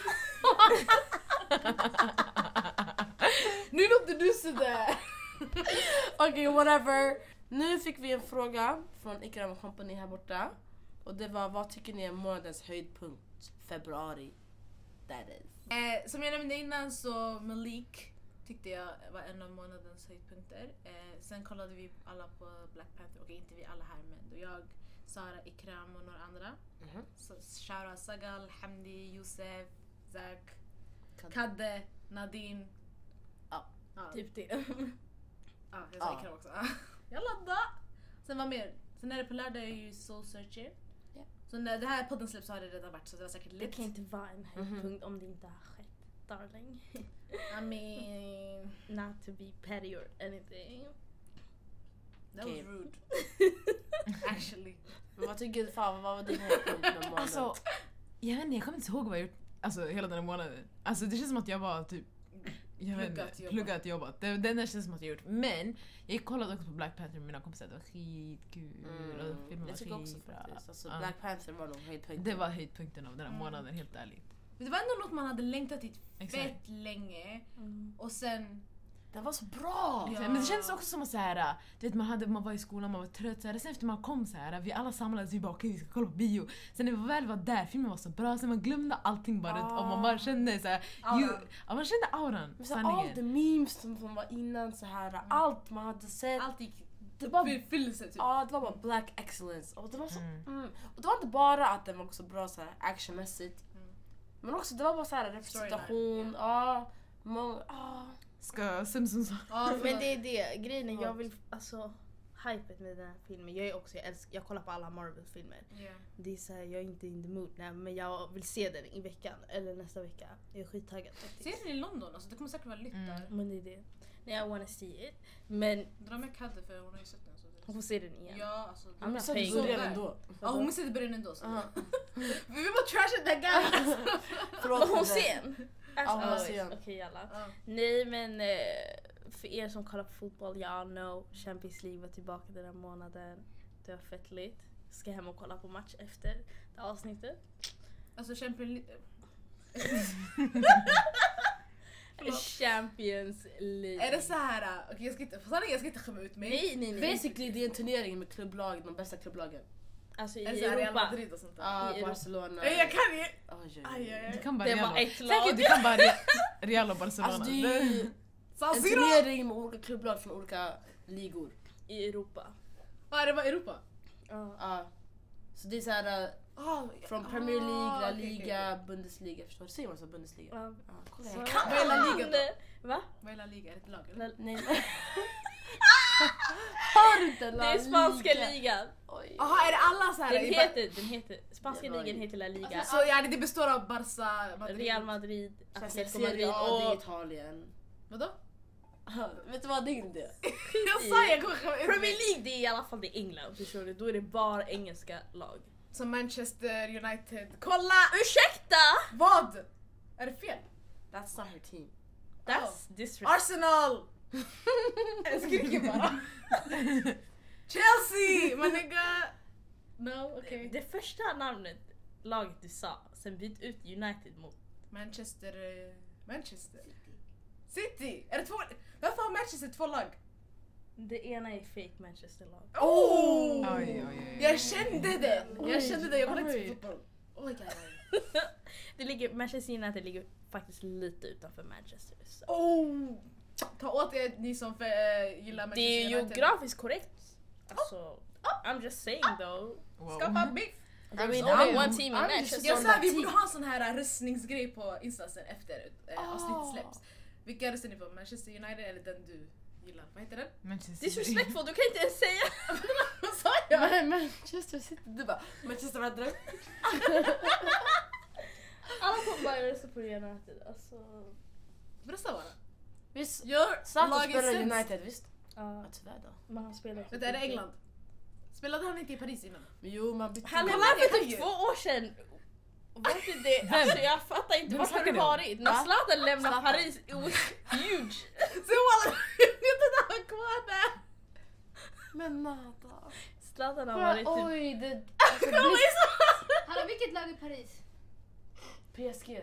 [SPEAKER 1] Nu låter du sådär.
[SPEAKER 3] Okej, whatever. Nu fick vi en fråga från Ikram och company här borta. Och det var, vad tycker ni är månadens höjdpunkt? Februari. That is.
[SPEAKER 1] Eh, som jag nämnde innan så Malik tyckte jag var en av månadens höjdpunkter. Eh, sen kollade vi alla på Black Panther, okej inte vi alla här men då jag, Sara, Ikram och några andra.
[SPEAKER 3] Mhm.
[SPEAKER 1] Så Shara Sagal, Hamdi, Youssef, Zak,
[SPEAKER 3] Kadde.
[SPEAKER 1] Kadde, Nadine.
[SPEAKER 3] Ja.
[SPEAKER 1] Ja,
[SPEAKER 2] Typ det.
[SPEAKER 1] ja, jag sa
[SPEAKER 3] Ja.
[SPEAKER 1] Ikram också. jag laddar! Sen vad mer? Sen är det på lördag är ju Soul Searcher.
[SPEAKER 3] Ja.
[SPEAKER 1] Så när det här podden släpps så har det redan varit så det var säkert
[SPEAKER 2] Det
[SPEAKER 1] lit.
[SPEAKER 2] kan inte vara en höjdpunkt om det inte har skett, darling.
[SPEAKER 1] I mean...
[SPEAKER 2] Not to be petty or anything.
[SPEAKER 1] That
[SPEAKER 3] Okej.
[SPEAKER 1] was rude. Actually.
[SPEAKER 3] Men vad tycker du, fan, vad var din höjdpunkt med månaden?
[SPEAKER 4] Alltså, jag vet inte, jag kommer inte ihåg vad jag gjort alltså, hela den här månaden. Alltså det känns som att jag bara typ jag vet
[SPEAKER 1] Pluggat,
[SPEAKER 4] inte,
[SPEAKER 1] jobbat.
[SPEAKER 4] pluggat, jobbat. Det, det enda känns som att jag gjort. Men jag gick och kollade också på Black Panther med mina kompisar. Det var skitkul. och filmen
[SPEAKER 3] Mm,
[SPEAKER 4] var
[SPEAKER 3] jag tycker också
[SPEAKER 4] skitbra.
[SPEAKER 3] faktiskt. Alltså,
[SPEAKER 4] Ja.
[SPEAKER 3] Black Panther Mm. var nog höjdpunkten.
[SPEAKER 4] Det var höjdpunkten av den här månaden, helt ärligt.
[SPEAKER 1] Men det var ändå något man hade längtat till
[SPEAKER 4] Exakt.
[SPEAKER 1] fett länge. Och sen...
[SPEAKER 3] Den var så bra!
[SPEAKER 1] Ja.
[SPEAKER 4] Exakt. Men det kändes också som att så här, du vet, man, hade, man var i skolan, man var trött. Så här. Sen efter man kom så här, vi alla samlades vi bara okej vi ska kolla på bio. Sen när vi väl var där, filmen var så bra. Sen man glömde allting bara. Och man bara kände så här, ju,
[SPEAKER 1] Auran.
[SPEAKER 4] ja, man kände auran.
[SPEAKER 3] Men så här,
[SPEAKER 4] Sanningen. Mm.
[SPEAKER 3] all the memes som, som var innan så här, allt man hade sett.
[SPEAKER 1] Allt gick...
[SPEAKER 3] det var
[SPEAKER 1] fy- Fyllde sig typ.
[SPEAKER 3] Ja, det var bara black excellence. Och det var, så,
[SPEAKER 4] Mm.
[SPEAKER 3] mm. och det var inte bara att den var också bra så här, actionmässigt.
[SPEAKER 1] Mm.
[SPEAKER 3] Men också det var bara så här representation.
[SPEAKER 1] Storyline,
[SPEAKER 3] Ja, många... Ja.
[SPEAKER 4] Ska Simpsons
[SPEAKER 1] Ja,
[SPEAKER 2] Men det är det, grejen är jag vill, alltså hypet med den här filmen. Jag är också, jag, älskar, jag kollar på alla Marvel-filmer.
[SPEAKER 1] Yeah.
[SPEAKER 2] Det är så här, jag är inte in the mood nej, men jag vill se den i veckan eller nästa vecka. Jag är skittaggad
[SPEAKER 1] Ser
[SPEAKER 2] faktiskt.
[SPEAKER 1] den i London? Alltså, det kommer säkert vara lytt
[SPEAKER 4] Mm.
[SPEAKER 1] där.
[SPEAKER 2] Men det är det. Nej, I wanna see it. Men
[SPEAKER 1] Dra med Kadde för hon har ju sett den. Så
[SPEAKER 2] hon
[SPEAKER 1] det. liksom-
[SPEAKER 2] får se den igen.
[SPEAKER 1] Ja, alltså.
[SPEAKER 2] I'm not
[SPEAKER 3] Sen
[SPEAKER 2] paying.
[SPEAKER 1] så-
[SPEAKER 3] började ändå.
[SPEAKER 1] Ja, hon missade början ändå. Så.
[SPEAKER 3] Ja,
[SPEAKER 1] Vi vill bara trasha den guy!
[SPEAKER 3] Förlåt.
[SPEAKER 2] Var hon
[SPEAKER 3] men-
[SPEAKER 2] sen?
[SPEAKER 3] Ja, hon var
[SPEAKER 2] As
[SPEAKER 3] sen.
[SPEAKER 2] always. Okej, jalla.
[SPEAKER 1] Ja.
[SPEAKER 2] Nej men eh, för er som kollar på fotboll, ja no. Champions League var tillbaka den här månaden. Det var fett lit. Ska hem och kolla på match efter det här avsnittet.
[SPEAKER 1] Alltså Champions League. Förlåt.
[SPEAKER 2] Champions League.
[SPEAKER 1] Är det så här? äh, Okej, jag ska inte, sanningen, jag ska inte skämma ut mig.
[SPEAKER 2] Nej nej nej.
[SPEAKER 3] Basically det är en turnering med klubblag, de bästa klubblagen.
[SPEAKER 2] Alltså i
[SPEAKER 1] Är det så här Real
[SPEAKER 2] Europa.
[SPEAKER 1] Madrid och sånt där?
[SPEAKER 3] Ah,
[SPEAKER 2] I Europa.
[SPEAKER 3] Barcelona.
[SPEAKER 1] Nej, jag kan ju!
[SPEAKER 3] Oj, oj,
[SPEAKER 1] Aj,
[SPEAKER 3] oj.
[SPEAKER 1] aj,
[SPEAKER 4] Du
[SPEAKER 1] aj.
[SPEAKER 4] kan bara
[SPEAKER 2] Det
[SPEAKER 4] Real.
[SPEAKER 2] var ett
[SPEAKER 4] Säkert
[SPEAKER 2] lag.
[SPEAKER 4] du kan bara Re- Real och Barcelona.
[SPEAKER 3] Alltså det är ju
[SPEAKER 1] San
[SPEAKER 3] en
[SPEAKER 1] Siro!
[SPEAKER 3] turnering med olika klubblag från olika ligor.
[SPEAKER 2] I Europa.
[SPEAKER 1] Ja, det var Europa.
[SPEAKER 2] Ja.
[SPEAKER 3] Ja. Så det är såhär eh,
[SPEAKER 1] Ah,
[SPEAKER 3] från
[SPEAKER 1] ah,
[SPEAKER 3] Premier League, La
[SPEAKER 1] okej, okej,
[SPEAKER 3] Liga, Bundesliga. Förstår du? Säger man så? Bundesliga?
[SPEAKER 2] Ja.
[SPEAKER 3] Ja, kolla
[SPEAKER 2] Så-
[SPEAKER 3] här.
[SPEAKER 1] Vad är La Liga då?
[SPEAKER 2] Va?
[SPEAKER 1] Vad är La Liga? Är det ett lag eller?
[SPEAKER 2] La-
[SPEAKER 3] Nej. Har du inte
[SPEAKER 2] Det
[SPEAKER 3] La
[SPEAKER 2] är spanska
[SPEAKER 3] Liga?
[SPEAKER 2] ligan.
[SPEAKER 3] Oj.
[SPEAKER 1] Jaha, är det alla så här?
[SPEAKER 2] Den
[SPEAKER 1] i ba-
[SPEAKER 2] heter, den heter, spanska
[SPEAKER 3] Jävlar.
[SPEAKER 2] ligan heter La Liga.
[SPEAKER 1] Så ja, det- det består av Barca, Madrid.
[SPEAKER 2] Real Madrid,
[SPEAKER 3] Sen
[SPEAKER 2] Atletico
[SPEAKER 3] Serie
[SPEAKER 2] Madrid
[SPEAKER 3] A, det är
[SPEAKER 2] och
[SPEAKER 3] Italien.
[SPEAKER 1] Vadå?
[SPEAKER 3] Vet du vad, det är inte det.
[SPEAKER 1] Jag sa jag kommer skämma ut
[SPEAKER 2] Premier
[SPEAKER 1] mig.
[SPEAKER 2] League det är i alla fall det är England förstår du, då är det bara engelska lag.
[SPEAKER 1] Så Manchester United. Kolla!
[SPEAKER 2] Ursäkta!
[SPEAKER 1] Vad? Är det fel?
[SPEAKER 3] That's not her team.
[SPEAKER 2] That's disrespect.
[SPEAKER 1] Arsenal! Jag skriker bara. Chelsea! My nigga! No, okej.
[SPEAKER 2] Det första namnet laget du sa, sen byt ut United mot.
[SPEAKER 1] Manchester... eh, Manchester? City! Är det två... Varför har Manchester två lag?
[SPEAKER 2] Det ena är fake Manchester-lag.
[SPEAKER 1] Oh!
[SPEAKER 4] Oj, oj, oj.
[SPEAKER 1] Jag kände det!
[SPEAKER 3] Oj,
[SPEAKER 1] Jag kände det, jag kollar inte
[SPEAKER 3] oj.
[SPEAKER 1] på fotboll. Oh my god.
[SPEAKER 2] det ligger, Manchester United ligger faktiskt lite utanför Manchester. Så.
[SPEAKER 1] Oh! Ta åt er ni som eh, gillar
[SPEAKER 2] Det
[SPEAKER 1] Manchester
[SPEAKER 2] är ju
[SPEAKER 1] United. Oh. Ah.
[SPEAKER 2] geografiskt korrekt. Alltså, I'm just saying though.
[SPEAKER 4] Wow.
[SPEAKER 1] Skapa biff!
[SPEAKER 2] There's
[SPEAKER 3] mean,
[SPEAKER 2] only
[SPEAKER 4] I'm-
[SPEAKER 2] one team in
[SPEAKER 3] I'm just
[SPEAKER 2] Manchester.
[SPEAKER 1] Mm. Jag
[SPEAKER 3] Som
[SPEAKER 1] sa vi
[SPEAKER 3] parti.
[SPEAKER 1] borde ha en sån här eh, röstningsgrej på instansen efter eh, avsnittet släpps. Vilka röstar ni på? Manchester United eller den du gillar? Vad heter den?
[SPEAKER 4] Manchester
[SPEAKER 2] Disrespectful, du kan inte ens säga
[SPEAKER 1] Vad sa jag?
[SPEAKER 3] Men Manchester City, du bara Manchester Madrid.
[SPEAKER 2] Alla kommer bara rösta på United. Alltså,
[SPEAKER 1] Rösta bara.
[SPEAKER 3] Visst,
[SPEAKER 1] Gör
[SPEAKER 3] Zlatan
[SPEAKER 1] laget
[SPEAKER 3] spelar i
[SPEAKER 1] sämst.
[SPEAKER 3] United visst?
[SPEAKER 2] ja,
[SPEAKER 3] Ja tyvärr då.
[SPEAKER 2] men han spelar
[SPEAKER 1] Vänta, är det England? Spelade han inte i Paris innan?
[SPEAKER 3] Men jo man bytte
[SPEAKER 2] Han
[SPEAKER 1] Men
[SPEAKER 2] var
[SPEAKER 1] det
[SPEAKER 2] för
[SPEAKER 1] kan ju-
[SPEAKER 2] typ två år sedan. Vet du det? Alltså jag fattar inte,
[SPEAKER 4] Vem
[SPEAKER 2] vart har
[SPEAKER 4] snackar
[SPEAKER 2] du
[SPEAKER 4] ni om?
[SPEAKER 2] varit? När
[SPEAKER 3] Va?
[SPEAKER 2] Zlatan lämnar
[SPEAKER 3] Zlatan.
[SPEAKER 2] Paris, it was huge!
[SPEAKER 1] Så walla, jag vet inte när han kvar där!
[SPEAKER 3] Men nada.
[SPEAKER 2] Zlatan har varit typ...
[SPEAKER 3] Oj, det...
[SPEAKER 5] Hallå, vilket lag i Paris?
[SPEAKER 3] PSG.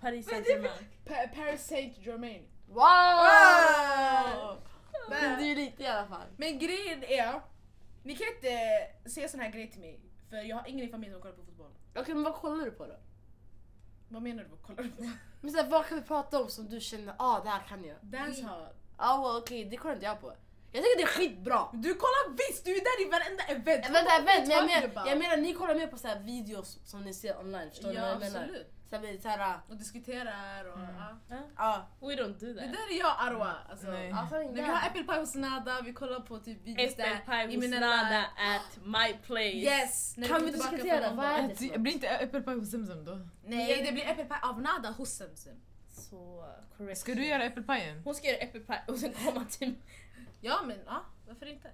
[SPEAKER 2] Paris Saint-Germain.
[SPEAKER 1] Pa- Paris Saint Germain.
[SPEAKER 3] Wow! Men det är
[SPEAKER 1] Där.
[SPEAKER 3] ju lite i alla fall.
[SPEAKER 1] Men grejen är, ni kan inte säga sån här grej till mig för jag har ingen i familjen som kollar på fotboll.
[SPEAKER 3] Okej men vad kollar du på då?
[SPEAKER 1] Vad menar du? Vad kollar du på?
[SPEAKER 3] Men så här, vad kan vi prata om som du känner, ah det här kan jag.
[SPEAKER 1] Dancehall.
[SPEAKER 3] Ah well, okej det kollar inte jag på. Jag tycker det är skitbra.
[SPEAKER 1] Du kollar visst, du är där i varenda event!
[SPEAKER 3] Äh, Vänta, vänta, men jag,
[SPEAKER 1] Taggad
[SPEAKER 3] menar,
[SPEAKER 1] bara.
[SPEAKER 3] jag menar ni kollar mer på så här videos som ni ser online, förstår ni
[SPEAKER 1] Ja
[SPEAKER 3] vad jag menar? Mm.
[SPEAKER 1] absolut.
[SPEAKER 3] Så här, ah, så här,
[SPEAKER 1] Och diskuterar och... ja.
[SPEAKER 3] ja.
[SPEAKER 2] We don't do
[SPEAKER 1] Det
[SPEAKER 2] that.
[SPEAKER 1] där är jag och Arwa. Alltså.
[SPEAKER 4] Nej.
[SPEAKER 3] Ja, fan,
[SPEAKER 1] När vi har apple pie hos Nada, vi kollar på typ videos
[SPEAKER 2] Apple pie hos
[SPEAKER 1] Imenella-
[SPEAKER 2] Nada at my place.
[SPEAKER 1] Yes! när
[SPEAKER 3] Kan
[SPEAKER 1] kom
[SPEAKER 3] vi
[SPEAKER 1] tillbaka
[SPEAKER 3] diskutera?
[SPEAKER 1] från
[SPEAKER 3] Vad
[SPEAKER 1] London.
[SPEAKER 3] är-
[SPEAKER 4] Ät- Blir inte äppel pie hos Zemzem då?
[SPEAKER 1] Nej det blir apple pie av Nada hos Semsem.
[SPEAKER 2] Så uh, correct.
[SPEAKER 4] Ska du göra äppelpajen?
[SPEAKER 2] Hon ska göra apple pie och sen komma till mig.
[SPEAKER 1] Ja men ja, varför inte?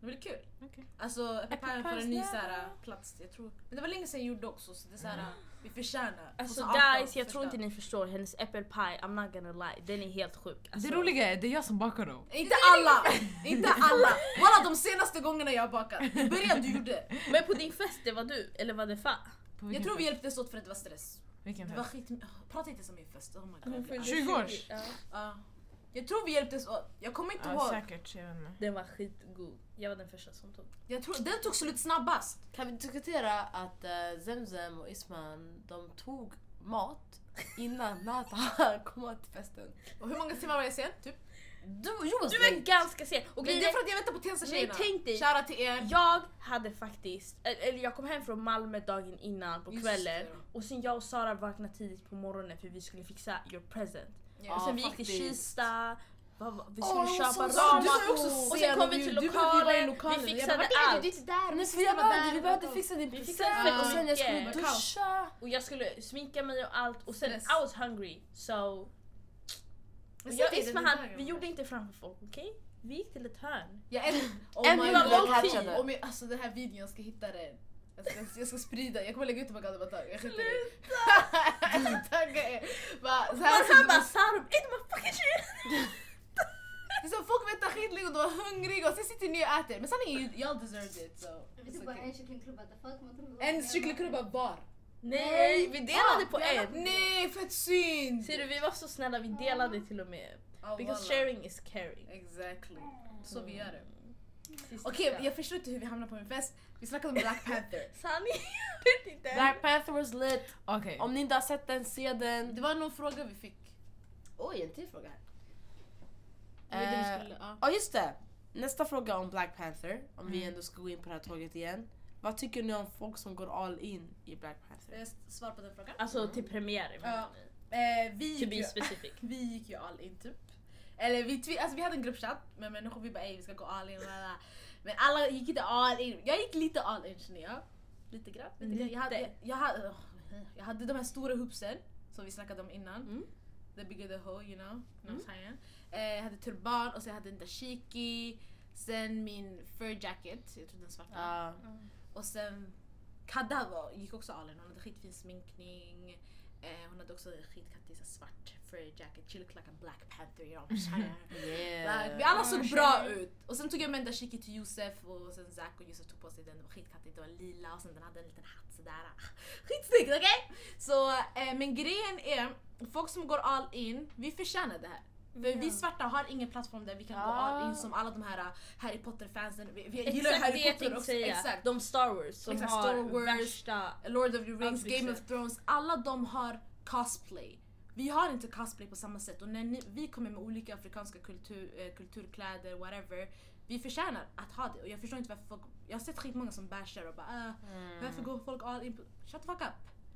[SPEAKER 1] Det blir kul.
[SPEAKER 4] Okej.
[SPEAKER 1] Alltså apple pie får
[SPEAKER 4] pie
[SPEAKER 1] en ny
[SPEAKER 4] snälla.
[SPEAKER 1] såhär, plats. Jag tror. Men det var länge sedan jag gjorde också så det är såhär, vi förtjänar.
[SPEAKER 2] Alltså
[SPEAKER 1] 2018,
[SPEAKER 2] guys, jag tror
[SPEAKER 1] första.
[SPEAKER 2] inte ni förstår. Hennes apple pie, I'm not gonna lie, den är helt sjuk. Alltså,
[SPEAKER 4] Det roliga är, det är jag som bakar dem.
[SPEAKER 1] Inte alla! Inte alla! Walla de senaste gångerna jag har bakat, i början du gjorde.
[SPEAKER 2] Men på din fest, det var du? Eller var det Fa?
[SPEAKER 4] På
[SPEAKER 1] Jag
[SPEAKER 4] vilken
[SPEAKER 1] tror vi
[SPEAKER 4] fest?
[SPEAKER 1] hjälptes åt för att det var stress.
[SPEAKER 4] Vilken
[SPEAKER 1] Det var
[SPEAKER 4] fest?
[SPEAKER 1] skit... Prata inte som min fest, oh my god. jag blir arg.
[SPEAKER 4] 20 års?
[SPEAKER 2] Ja.
[SPEAKER 1] Ja. Jag tror vi hjälptes åt. Jag kommer inte
[SPEAKER 4] Ja,
[SPEAKER 1] ihåg.
[SPEAKER 4] säkert. Jag vet inte.
[SPEAKER 2] Den var skitgod. Jag var den första som tog.
[SPEAKER 1] Jag tror, den tog slut snabbast.
[SPEAKER 3] Kan vi diskutera att eh, Zemzem och Isman, de tog mat innan Nata kom till festen?
[SPEAKER 1] Och hur många timmar var jag sen? Typ?
[SPEAKER 3] Du, Jonas,
[SPEAKER 2] Du var ganska sen. Och
[SPEAKER 1] Men
[SPEAKER 2] grejen
[SPEAKER 1] det är
[SPEAKER 2] är,
[SPEAKER 1] för att jag väntar på Tensta-tjejerna.
[SPEAKER 2] Nej, tänk dig.
[SPEAKER 1] Shoutout till er.
[SPEAKER 2] jag hade faktiskt, eller jag kom hem från Malmö dagen innan på
[SPEAKER 1] Just
[SPEAKER 2] kvällen.
[SPEAKER 1] det.
[SPEAKER 2] Och sen jag och Sara vaknade tidigt på morgonen för vi skulle fixa your present.
[SPEAKER 1] Ja.
[SPEAKER 2] och sen
[SPEAKER 3] Ja,
[SPEAKER 2] vi gick till
[SPEAKER 3] faktiskt.
[SPEAKER 2] Kista,
[SPEAKER 4] Vad- vad- Vi
[SPEAKER 3] Åh,
[SPEAKER 4] skulle
[SPEAKER 3] jag var
[SPEAKER 4] köpa
[SPEAKER 3] så-
[SPEAKER 4] ramar.
[SPEAKER 3] du sa ju också
[SPEAKER 4] och
[SPEAKER 2] sen
[SPEAKER 4] sen
[SPEAKER 2] kom
[SPEAKER 4] kom
[SPEAKER 2] vi till
[SPEAKER 4] du behövde ju vara
[SPEAKER 2] lokalen, vi
[SPEAKER 4] i lokalen. Jag
[SPEAKER 2] fixade
[SPEAKER 4] bara,
[SPEAKER 5] Nej,
[SPEAKER 2] allt.
[SPEAKER 5] du är inte där.
[SPEAKER 3] Men
[SPEAKER 5] måste
[SPEAKER 3] för jag
[SPEAKER 5] vara
[SPEAKER 3] behövde,
[SPEAKER 5] där
[SPEAKER 3] vi
[SPEAKER 5] och
[SPEAKER 3] behövde
[SPEAKER 5] gå.
[SPEAKER 3] fixa din
[SPEAKER 2] Vi
[SPEAKER 3] present
[SPEAKER 2] fixade fett
[SPEAKER 3] och sen jag skulle
[SPEAKER 2] mycket.
[SPEAKER 3] duscha.
[SPEAKER 2] Och jag skulle sminka mig och allt och sen
[SPEAKER 5] Stress.
[SPEAKER 2] I was hungry so... Och
[SPEAKER 5] Men
[SPEAKER 2] jag och
[SPEAKER 5] säg till
[SPEAKER 2] Ismahan,
[SPEAKER 5] den här
[SPEAKER 2] vi
[SPEAKER 5] gången.
[SPEAKER 2] gjorde inte framför folk, okej? Vi gick till ett hörn.
[SPEAKER 1] Jag älskar...
[SPEAKER 2] Oh
[SPEAKER 3] En
[SPEAKER 1] my
[SPEAKER 3] video
[SPEAKER 1] god.
[SPEAKER 3] catchade.
[SPEAKER 1] Om jag, alltså den här videon, jag ska hitta Alltså, den. Jag ska, jag ska sprida, jag kommer lägga ut den på gatan ett tag. Jag skiter i det. Tagga er. Bara, så här,
[SPEAKER 2] Han
[SPEAKER 1] så,
[SPEAKER 2] bara Sarum, är du my fucking shit?
[SPEAKER 1] det är så, folk väntar skitlänge och du var hungrig och sen sitter ni och äter. Men sanningen är ju, y'all deserved it. So,
[SPEAKER 5] Vi tog
[SPEAKER 1] it's
[SPEAKER 5] bara
[SPEAKER 1] okay.
[SPEAKER 5] en kycklingklubba, what the fuck? man tror-
[SPEAKER 1] En kycklingkrubba var.
[SPEAKER 2] Nej, vi delade
[SPEAKER 1] Ah,
[SPEAKER 2] på en.
[SPEAKER 1] Nej, fett synd!
[SPEAKER 2] Ser du, vi var så snälla, vi delade till och med.
[SPEAKER 1] Ja,
[SPEAKER 2] Because Mm.
[SPEAKER 1] wallah.
[SPEAKER 2] sharing is caring.
[SPEAKER 1] Exactly. Så vi gör det.
[SPEAKER 2] Sista.
[SPEAKER 1] Okej, jag förstår inte hur vi hamnade på en fest. Vi snackade om Black Panther.
[SPEAKER 2] Sanni, jag vet inte.
[SPEAKER 3] Black Panther was lit.
[SPEAKER 4] Okej.
[SPEAKER 3] Om ni inte har sett den, se den.
[SPEAKER 1] Det var någon fråga vi fick. Oj, en till fråga här.
[SPEAKER 3] Eh,
[SPEAKER 1] Men du skulle- ja.
[SPEAKER 3] Ja just det. Nästa fråga om Black Panther, om vi ändå ska gå in på det här tåget igen. Vad tycker ni om folk som går all in i Black Panther?
[SPEAKER 1] Eh, Svar på den frågan.
[SPEAKER 2] Alltså till premiären.
[SPEAKER 1] Ja.
[SPEAKER 2] menar ni?
[SPEAKER 1] Eh, vi,
[SPEAKER 2] To
[SPEAKER 1] gick
[SPEAKER 2] be
[SPEAKER 1] ju,
[SPEAKER 2] specific.
[SPEAKER 1] vi gick ju all in typ. Eller vi, tvi- alltså, vi hade en gruppchatt med människor, vi bara "Ey, vi ska gå all in. bla, bla." Men alla gick inte all in. Jag gick lite all in känner jag. Lite grann. Lite. grann. Jag, hade, jag, jag, hade, åh, jag hade de här stora hoopsen som vi snackade om innan.
[SPEAKER 2] Mm.
[SPEAKER 1] The bigger the hoe, you know. You know what I'm saying? eh, jag hade turban och sen hade jag en dashiki. Sen min fur jacket, jag tror den svarta.
[SPEAKER 3] Ja.
[SPEAKER 1] Och sen Kadda var, gick också all in. Hon hade skitfin sminkning. Eh, hon hade också en skitkattig så här svart fur jacket. She looked like a black panther. You know, what I'm saying? Like, Vi alla såg bra ut. Och sen tog jag med en dashiki till Josef och sen Zack och Josef tog på sig den. Den var skitkattig, den var lila och sen den hade en liten hatt sådär. Skitsnyggt okej? Så, eh, men grejen är, folk som går all in, vi förtjänar det här. För vi svarta har ingen plattform där vi kan gå
[SPEAKER 3] Ja.
[SPEAKER 1] all in som alla de här eh, Harry Potter-fansen. Vi, vi gillar
[SPEAKER 2] Ah. Exakt det
[SPEAKER 1] Harry
[SPEAKER 2] jag
[SPEAKER 1] Potter
[SPEAKER 2] tänkte
[SPEAKER 1] också.
[SPEAKER 2] säga.
[SPEAKER 1] Exakt.
[SPEAKER 2] De Star Wars som
[SPEAKER 1] Exakt,
[SPEAKER 2] har
[SPEAKER 1] Star Wars.
[SPEAKER 2] värsta...
[SPEAKER 1] Lord of the Rings,
[SPEAKER 2] Ansikte.
[SPEAKER 1] Game of Thrones, alla de har cosplay. Vi har inte cosplay på samma sätt och när ni, vi kommer med olika afrikanska kultur, eh, kulturkläder, whatever. Vi förtjänar att ha det och jag förstår inte varför folk, jag har sett skitmånga som bashar och bara "Ah,
[SPEAKER 3] Mm.
[SPEAKER 1] varför går folk all in på... Shut the fuck up!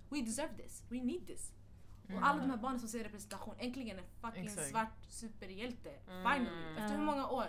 [SPEAKER 1] We deserve this, we need this.
[SPEAKER 3] Mm.
[SPEAKER 1] Och alla de här barnen som ser representation, äntligen en fucking
[SPEAKER 4] Exakt.
[SPEAKER 1] svart superhjälte.
[SPEAKER 3] Mm.
[SPEAKER 1] Finally! Efter hur
[SPEAKER 2] Ja.
[SPEAKER 1] många år?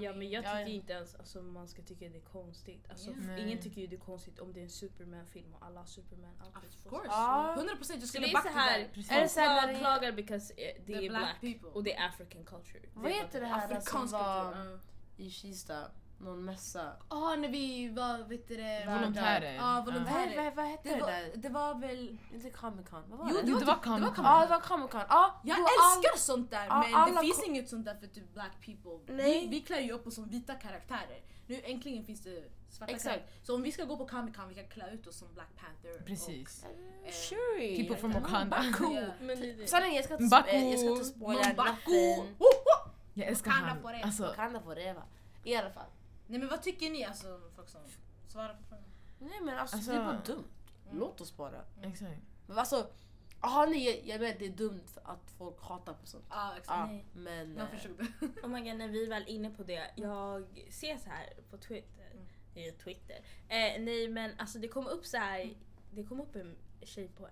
[SPEAKER 2] Ja men jag
[SPEAKER 3] Ja,
[SPEAKER 2] tycker
[SPEAKER 3] ja.
[SPEAKER 2] inte ens alltså, man ska tycka det är konstigt. Alltså,
[SPEAKER 1] Yeah.
[SPEAKER 2] f-
[SPEAKER 4] Nej.
[SPEAKER 2] Ingen tycker ju det är konstigt om det är en Superman-film och alla har Superman-outfits
[SPEAKER 1] Of
[SPEAKER 2] på
[SPEAKER 1] course!
[SPEAKER 2] sig.
[SPEAKER 3] Ja.
[SPEAKER 1] 100% jag
[SPEAKER 2] Så
[SPEAKER 1] skulle
[SPEAKER 2] det är
[SPEAKER 1] back to
[SPEAKER 2] så här,
[SPEAKER 1] that.
[SPEAKER 4] Precis.
[SPEAKER 3] Är det
[SPEAKER 2] folk
[SPEAKER 3] så här när
[SPEAKER 2] kla-
[SPEAKER 3] det-
[SPEAKER 2] klagar because eh, det
[SPEAKER 1] The
[SPEAKER 2] är
[SPEAKER 1] black
[SPEAKER 2] black,
[SPEAKER 1] people.
[SPEAKER 2] och det är African culture.
[SPEAKER 3] Vad heter det här som
[SPEAKER 1] Afrikansk
[SPEAKER 3] var
[SPEAKER 1] kultur. ja.
[SPEAKER 3] i Kista? Någon mässa?
[SPEAKER 1] Ja, när vi var, vet du det?
[SPEAKER 3] Värdar.
[SPEAKER 4] Volontärer.
[SPEAKER 1] Ja,
[SPEAKER 3] Vad,
[SPEAKER 1] volontärer.
[SPEAKER 3] vad, vad hette det,
[SPEAKER 1] Det var,
[SPEAKER 3] där?
[SPEAKER 1] det var väl...
[SPEAKER 3] Inte Comic Con, vad var
[SPEAKER 1] Jo,
[SPEAKER 3] det?
[SPEAKER 1] det var,
[SPEAKER 4] det var
[SPEAKER 1] typ-
[SPEAKER 4] Comic Con.
[SPEAKER 3] Ja ah, det var Comic Con. Ah,
[SPEAKER 1] Jag
[SPEAKER 3] jo, all-
[SPEAKER 1] älskar sånt där
[SPEAKER 3] Ja,
[SPEAKER 1] men
[SPEAKER 3] alla
[SPEAKER 1] det finns
[SPEAKER 3] ko-
[SPEAKER 1] inget sånt där för typ black people.
[SPEAKER 3] Nej.
[SPEAKER 1] Vi, vi klär ju upp oss som vita karaktärer. Nu äntligen finns det svarta
[SPEAKER 3] Exakt.
[SPEAKER 1] karaktärer. Så om vi ska gå på Comic Con vi kan klä ut oss som Black Panther.
[SPEAKER 4] Precis.
[SPEAKER 1] Och, eh,
[SPEAKER 3] Shuri.
[SPEAKER 4] People from Wakanda.
[SPEAKER 1] Ja.
[SPEAKER 2] Men det, det.
[SPEAKER 3] Sanningen, jag ska inte,
[SPEAKER 4] M'Baku.
[SPEAKER 3] eh, jag ska inte spoila
[SPEAKER 1] M'Baku.
[SPEAKER 3] natten.
[SPEAKER 1] Ho, ho!
[SPEAKER 4] Jag älskar
[SPEAKER 1] Wakanda
[SPEAKER 4] han.
[SPEAKER 1] forever.
[SPEAKER 4] Alltså,
[SPEAKER 3] Wakanda forever. I alla fall.
[SPEAKER 1] Nej men vad tycker ni alltså folk som svarar på Mm. frågan?
[SPEAKER 3] Nej men alltså,
[SPEAKER 4] Alltså-
[SPEAKER 3] det är bara dumt. Låt oss bara.
[SPEAKER 4] exakt.
[SPEAKER 3] Men alltså, aha, nej, jag, jag vet det är dumt att folk hatar på sånt.
[SPEAKER 1] Ja exakt.
[SPEAKER 3] Ja,
[SPEAKER 2] Ah, Nej.
[SPEAKER 3] men...
[SPEAKER 1] Jag
[SPEAKER 3] eh,
[SPEAKER 1] förstod det.
[SPEAKER 2] Oh my god, när vi är väl inne på det. Jag ser så här på Twitter.
[SPEAKER 1] Mm.
[SPEAKER 2] Eh, Twitter. Eh, nej men alltså det kom upp så här. Det kom upp en tjej på...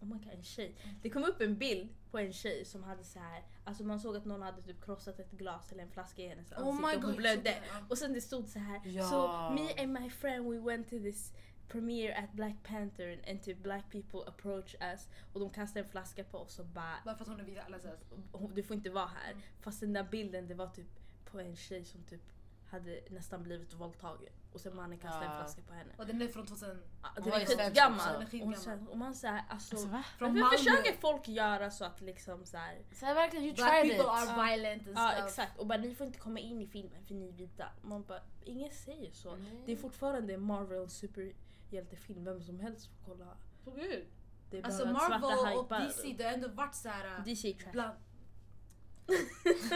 [SPEAKER 2] Oh my god, en tjej. Det kom upp en bild på en tjej som hade så här. Alltså man såg att någon hade typ krossat ett glas eller en flaska i
[SPEAKER 1] Oh
[SPEAKER 2] hennes ansikte och hon blödde. Och sen det stod så här.
[SPEAKER 3] Ja.
[SPEAKER 2] So me and my friend we went to this premiere at Black Panther and typ black people approach us och de kastade en flaska på oss och bara
[SPEAKER 1] Bara för att hon är vit alla säger
[SPEAKER 2] "Hon- du får inte vara här. Fast den där bilden det var typ på en tjej som typ hade nästan blivit våldtagen och sen mannen kastade en
[SPEAKER 3] Ah.
[SPEAKER 2] flaska på henne.
[SPEAKER 1] Och den är från 2000...
[SPEAKER 2] Ah, Den
[SPEAKER 3] Hon
[SPEAKER 2] är
[SPEAKER 3] var ju svensk också.
[SPEAKER 2] skitgammal.
[SPEAKER 1] Den är
[SPEAKER 2] Och,
[SPEAKER 1] skitgammal.
[SPEAKER 2] sen- och man säger alltså,
[SPEAKER 4] alltså va?
[SPEAKER 1] Från
[SPEAKER 2] varför
[SPEAKER 1] Malmö.
[SPEAKER 2] försöker folk göra så att liksom så här,
[SPEAKER 3] Så här, verkligen, you
[SPEAKER 1] Black
[SPEAKER 3] tried it.
[SPEAKER 1] people are violent and
[SPEAKER 2] Ja
[SPEAKER 1] stuff.
[SPEAKER 2] Ah, exakt och bara ni får inte komma in i filmen för ni är vita. Man bara ingen säger så.
[SPEAKER 3] Nej.
[SPEAKER 2] Det är fortfarande en Marvel superhjältefilm, vem som helst får kolla.
[SPEAKER 1] På gud.
[SPEAKER 2] Det är bara
[SPEAKER 1] Alltså
[SPEAKER 2] att
[SPEAKER 1] Marvel
[SPEAKER 2] svarta
[SPEAKER 1] och
[SPEAKER 2] hypar.
[SPEAKER 1] DC det har ändå varit såhär...
[SPEAKER 2] DC är trash.
[SPEAKER 1] Bland...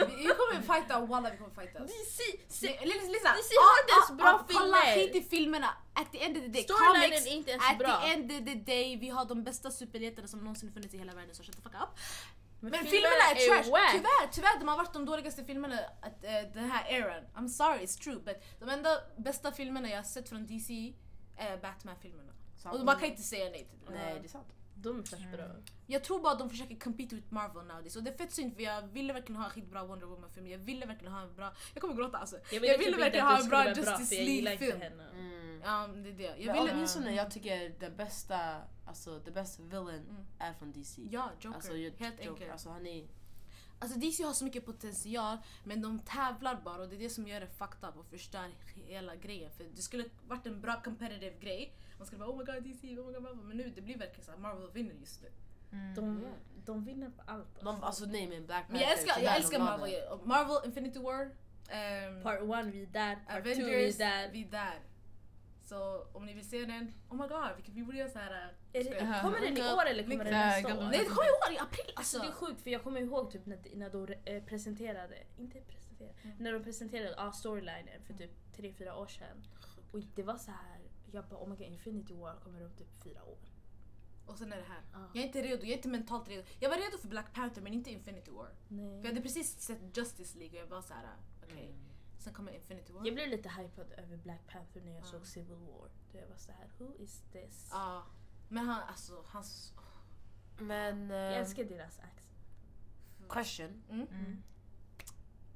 [SPEAKER 1] vi kommer fighta, walla vi kommer fightas.
[SPEAKER 2] DC! se-
[SPEAKER 1] Li- Li- Lisa, ah,
[SPEAKER 2] DC har inte ens bra
[SPEAKER 1] Kolla
[SPEAKER 2] filmer.
[SPEAKER 1] hit i filmerna! At the end of the day,
[SPEAKER 2] Storylinen
[SPEAKER 1] comics,
[SPEAKER 2] är inte ens
[SPEAKER 1] at
[SPEAKER 2] bra.
[SPEAKER 1] the end of the day, vi har de bästa superhjältarna som någonsin funnits i hela världen så shut the fuck up. Men, filmerna är trash!
[SPEAKER 2] wack.
[SPEAKER 1] Tyvärr, tyvärr, de har varit de dåligaste filmerna att, eh, den här eran. I'm sorry, it's true but de enda bästa filmerna jag har sett från DC är Batman-filmerna.
[SPEAKER 3] Sant.
[SPEAKER 1] Och man kan inte säga nej till det.
[SPEAKER 3] Nej, det är sant.
[SPEAKER 2] De är fett bra.
[SPEAKER 1] Jag tror bara att de försöker compete with Marvel nowadays. Och det är fett synd för jag ville verkligen ha en skitbra Wonder Woman-film. Jag ville verkligen ha en bra... Jag kommer gråta alltså.
[SPEAKER 2] Jag
[SPEAKER 1] ville
[SPEAKER 2] ville
[SPEAKER 1] typ
[SPEAKER 2] typ inte
[SPEAKER 1] verkligen
[SPEAKER 2] att
[SPEAKER 1] ha
[SPEAKER 2] det
[SPEAKER 1] en
[SPEAKER 2] skulle
[SPEAKER 1] bra
[SPEAKER 2] vara bra för
[SPEAKER 1] Justice
[SPEAKER 2] jag gillar inte
[SPEAKER 1] League-film.
[SPEAKER 2] henne.
[SPEAKER 3] Mm.
[SPEAKER 1] Ja, Um, det är det. Jag
[SPEAKER 3] Men
[SPEAKER 1] ville...
[SPEAKER 3] åtminstone jag tycker den bästa, alltså the best villain
[SPEAKER 1] Mm.
[SPEAKER 3] är från DC.
[SPEAKER 1] Ja, Joker.
[SPEAKER 3] Alltså, ju-
[SPEAKER 1] Helt enkelt.
[SPEAKER 3] Alltså han är...
[SPEAKER 1] Alltså DC har så mycket potential men de tävlar bara och det är det som gör det fucked up och förstör hela grejen. För det skulle varit en bra competitive grej. Man skulle bara oh my god DC, oh my god Marvel. Men nu det blir verkligen såhär Marvel vinner just nu. Mm.
[SPEAKER 2] De, de vinner på allt.
[SPEAKER 3] De, alltså nej men Black Panther.
[SPEAKER 1] Men jag älskar, jag
[SPEAKER 3] tyvärr,
[SPEAKER 1] älskar
[SPEAKER 3] de la den.
[SPEAKER 1] Marvel. Och Marvel Infinity War. ehm,
[SPEAKER 2] Part 1 vi är där, part 2 vi är
[SPEAKER 1] Avengers,
[SPEAKER 2] där.
[SPEAKER 1] vi är där. Så om ni vill se den, oh my god, vi, vi borde göra äh, såhär...
[SPEAKER 2] Är det- Kommer den i
[SPEAKER 4] Mycket-
[SPEAKER 2] år eller kommer den
[SPEAKER 4] mycket-
[SPEAKER 2] nästa år?
[SPEAKER 1] Nej det kommer i år, i april alltså!
[SPEAKER 2] Alltså det är sjukt för jag kommer ihåg typ när, när de eh, presenterade, inte presenterade,
[SPEAKER 1] Mm.
[SPEAKER 2] när de presenterade ah, storylinen för typ 3-4 år sedan. Och det var så här, jag bara oh my god Infinity War kommer om typ 4 år.
[SPEAKER 1] Och sen är det här.
[SPEAKER 2] Ah.
[SPEAKER 1] Jag är inte redo, jag är inte mentalt redo. Jag var redo för Black Panther men inte Infinity War. För jag
[SPEAKER 2] Nej.
[SPEAKER 1] hade precis sett Justice League och jag var såhär, okej. Sen kommer Infinity War.
[SPEAKER 2] Jag blev lite hypad över Black Panther när jag
[SPEAKER 1] Ah.
[SPEAKER 2] såg Civil War. Då jag var så här, who is this?
[SPEAKER 1] Ja. Men han, alltså, hans...
[SPEAKER 3] Men...
[SPEAKER 2] Jag
[SPEAKER 3] eh,
[SPEAKER 2] älskar deras accent.
[SPEAKER 3] question.
[SPEAKER 1] Mm.
[SPEAKER 4] Mm.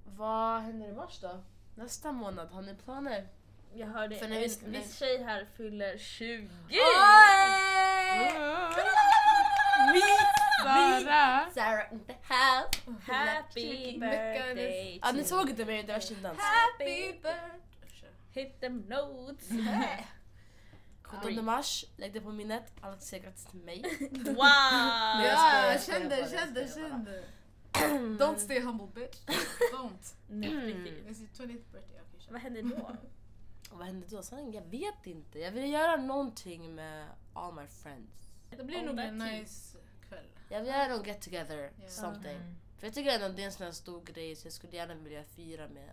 [SPEAKER 3] Vad händer i mars då? Nästa månad, har ni planer?
[SPEAKER 2] Jag hörde
[SPEAKER 3] För
[SPEAKER 2] en
[SPEAKER 3] när vi ska-
[SPEAKER 2] viss tjej här fyller 20!
[SPEAKER 4] Sara!
[SPEAKER 3] Sarah in the house!
[SPEAKER 2] Happy birthday!
[SPEAKER 3] Ja, ni
[SPEAKER 2] to
[SPEAKER 3] såg inte mig, det var tjejdans.
[SPEAKER 1] Happy birthday!
[SPEAKER 2] Hit them notes!
[SPEAKER 3] 17 mars, lägg det på minnet. Alla säger grattis till mig.
[SPEAKER 2] Wow!
[SPEAKER 3] jag skojar, jag skojar bara, jag skojar bara.
[SPEAKER 1] kände. Don't stay humble bitch. Don't.
[SPEAKER 2] Nej, riktigt.
[SPEAKER 1] It's your 20th birthday. Okej, kör.
[SPEAKER 2] Vad händer då?
[SPEAKER 3] Och vad hände då? Sen, jag vet inte. Jag ville göra någonting med all my friends.
[SPEAKER 1] Det blir
[SPEAKER 2] Om
[SPEAKER 1] nog
[SPEAKER 2] that
[SPEAKER 1] en
[SPEAKER 2] tea.
[SPEAKER 1] nice kväll.
[SPEAKER 3] Jag vill göra någon get together,
[SPEAKER 1] Ja.
[SPEAKER 3] something.
[SPEAKER 4] Mm.
[SPEAKER 3] För jag tycker ändå att det är en sån här stor grej så jag skulle gärna vilja fira med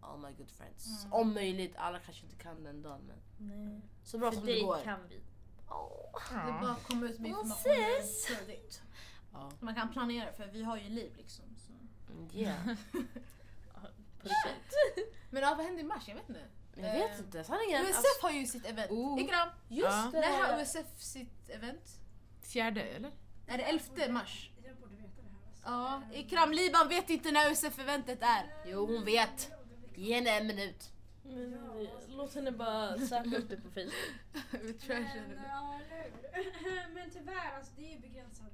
[SPEAKER 3] all my good friends.
[SPEAKER 1] Mm.
[SPEAKER 3] Om möjligt, alla kanske inte kan den dagen men
[SPEAKER 2] Nej.
[SPEAKER 3] så bra
[SPEAKER 2] För
[SPEAKER 3] som det
[SPEAKER 2] dig
[SPEAKER 3] går.
[SPEAKER 2] kan vi.
[SPEAKER 3] Åh.
[SPEAKER 1] Det är bara att komma ut med
[SPEAKER 3] Åh,
[SPEAKER 1] informationen tidigt.
[SPEAKER 3] Ja.
[SPEAKER 1] Man kan planera för vi har ju liv liksom. Så.
[SPEAKER 3] Yeah.
[SPEAKER 2] På riktigt.
[SPEAKER 1] Men ja, vad händer i mars? Jag vet inte.
[SPEAKER 3] Jag vet
[SPEAKER 1] Eh,
[SPEAKER 3] inte, sanningen. Alltså,
[SPEAKER 1] USF har ju sitt event.
[SPEAKER 3] Oh.
[SPEAKER 1] Ikram,
[SPEAKER 3] just
[SPEAKER 1] när har
[SPEAKER 3] det!
[SPEAKER 1] USF sitt event?
[SPEAKER 4] Fjärde eller?
[SPEAKER 1] Är det 11 mars?
[SPEAKER 5] Jag borde veta det här. Alltså.
[SPEAKER 1] Ja, Ikram Liban vet inte när USF-eventet är.
[SPEAKER 3] Jo hon vet. Ge henne en minut.
[SPEAKER 2] Men, eh, Låt henne bara söka upp det på Facebook.
[SPEAKER 1] Vi
[SPEAKER 5] Men, eh,
[SPEAKER 1] trashade.
[SPEAKER 5] ja, nu. Men tyvärr, alltså, det är ju begränsat.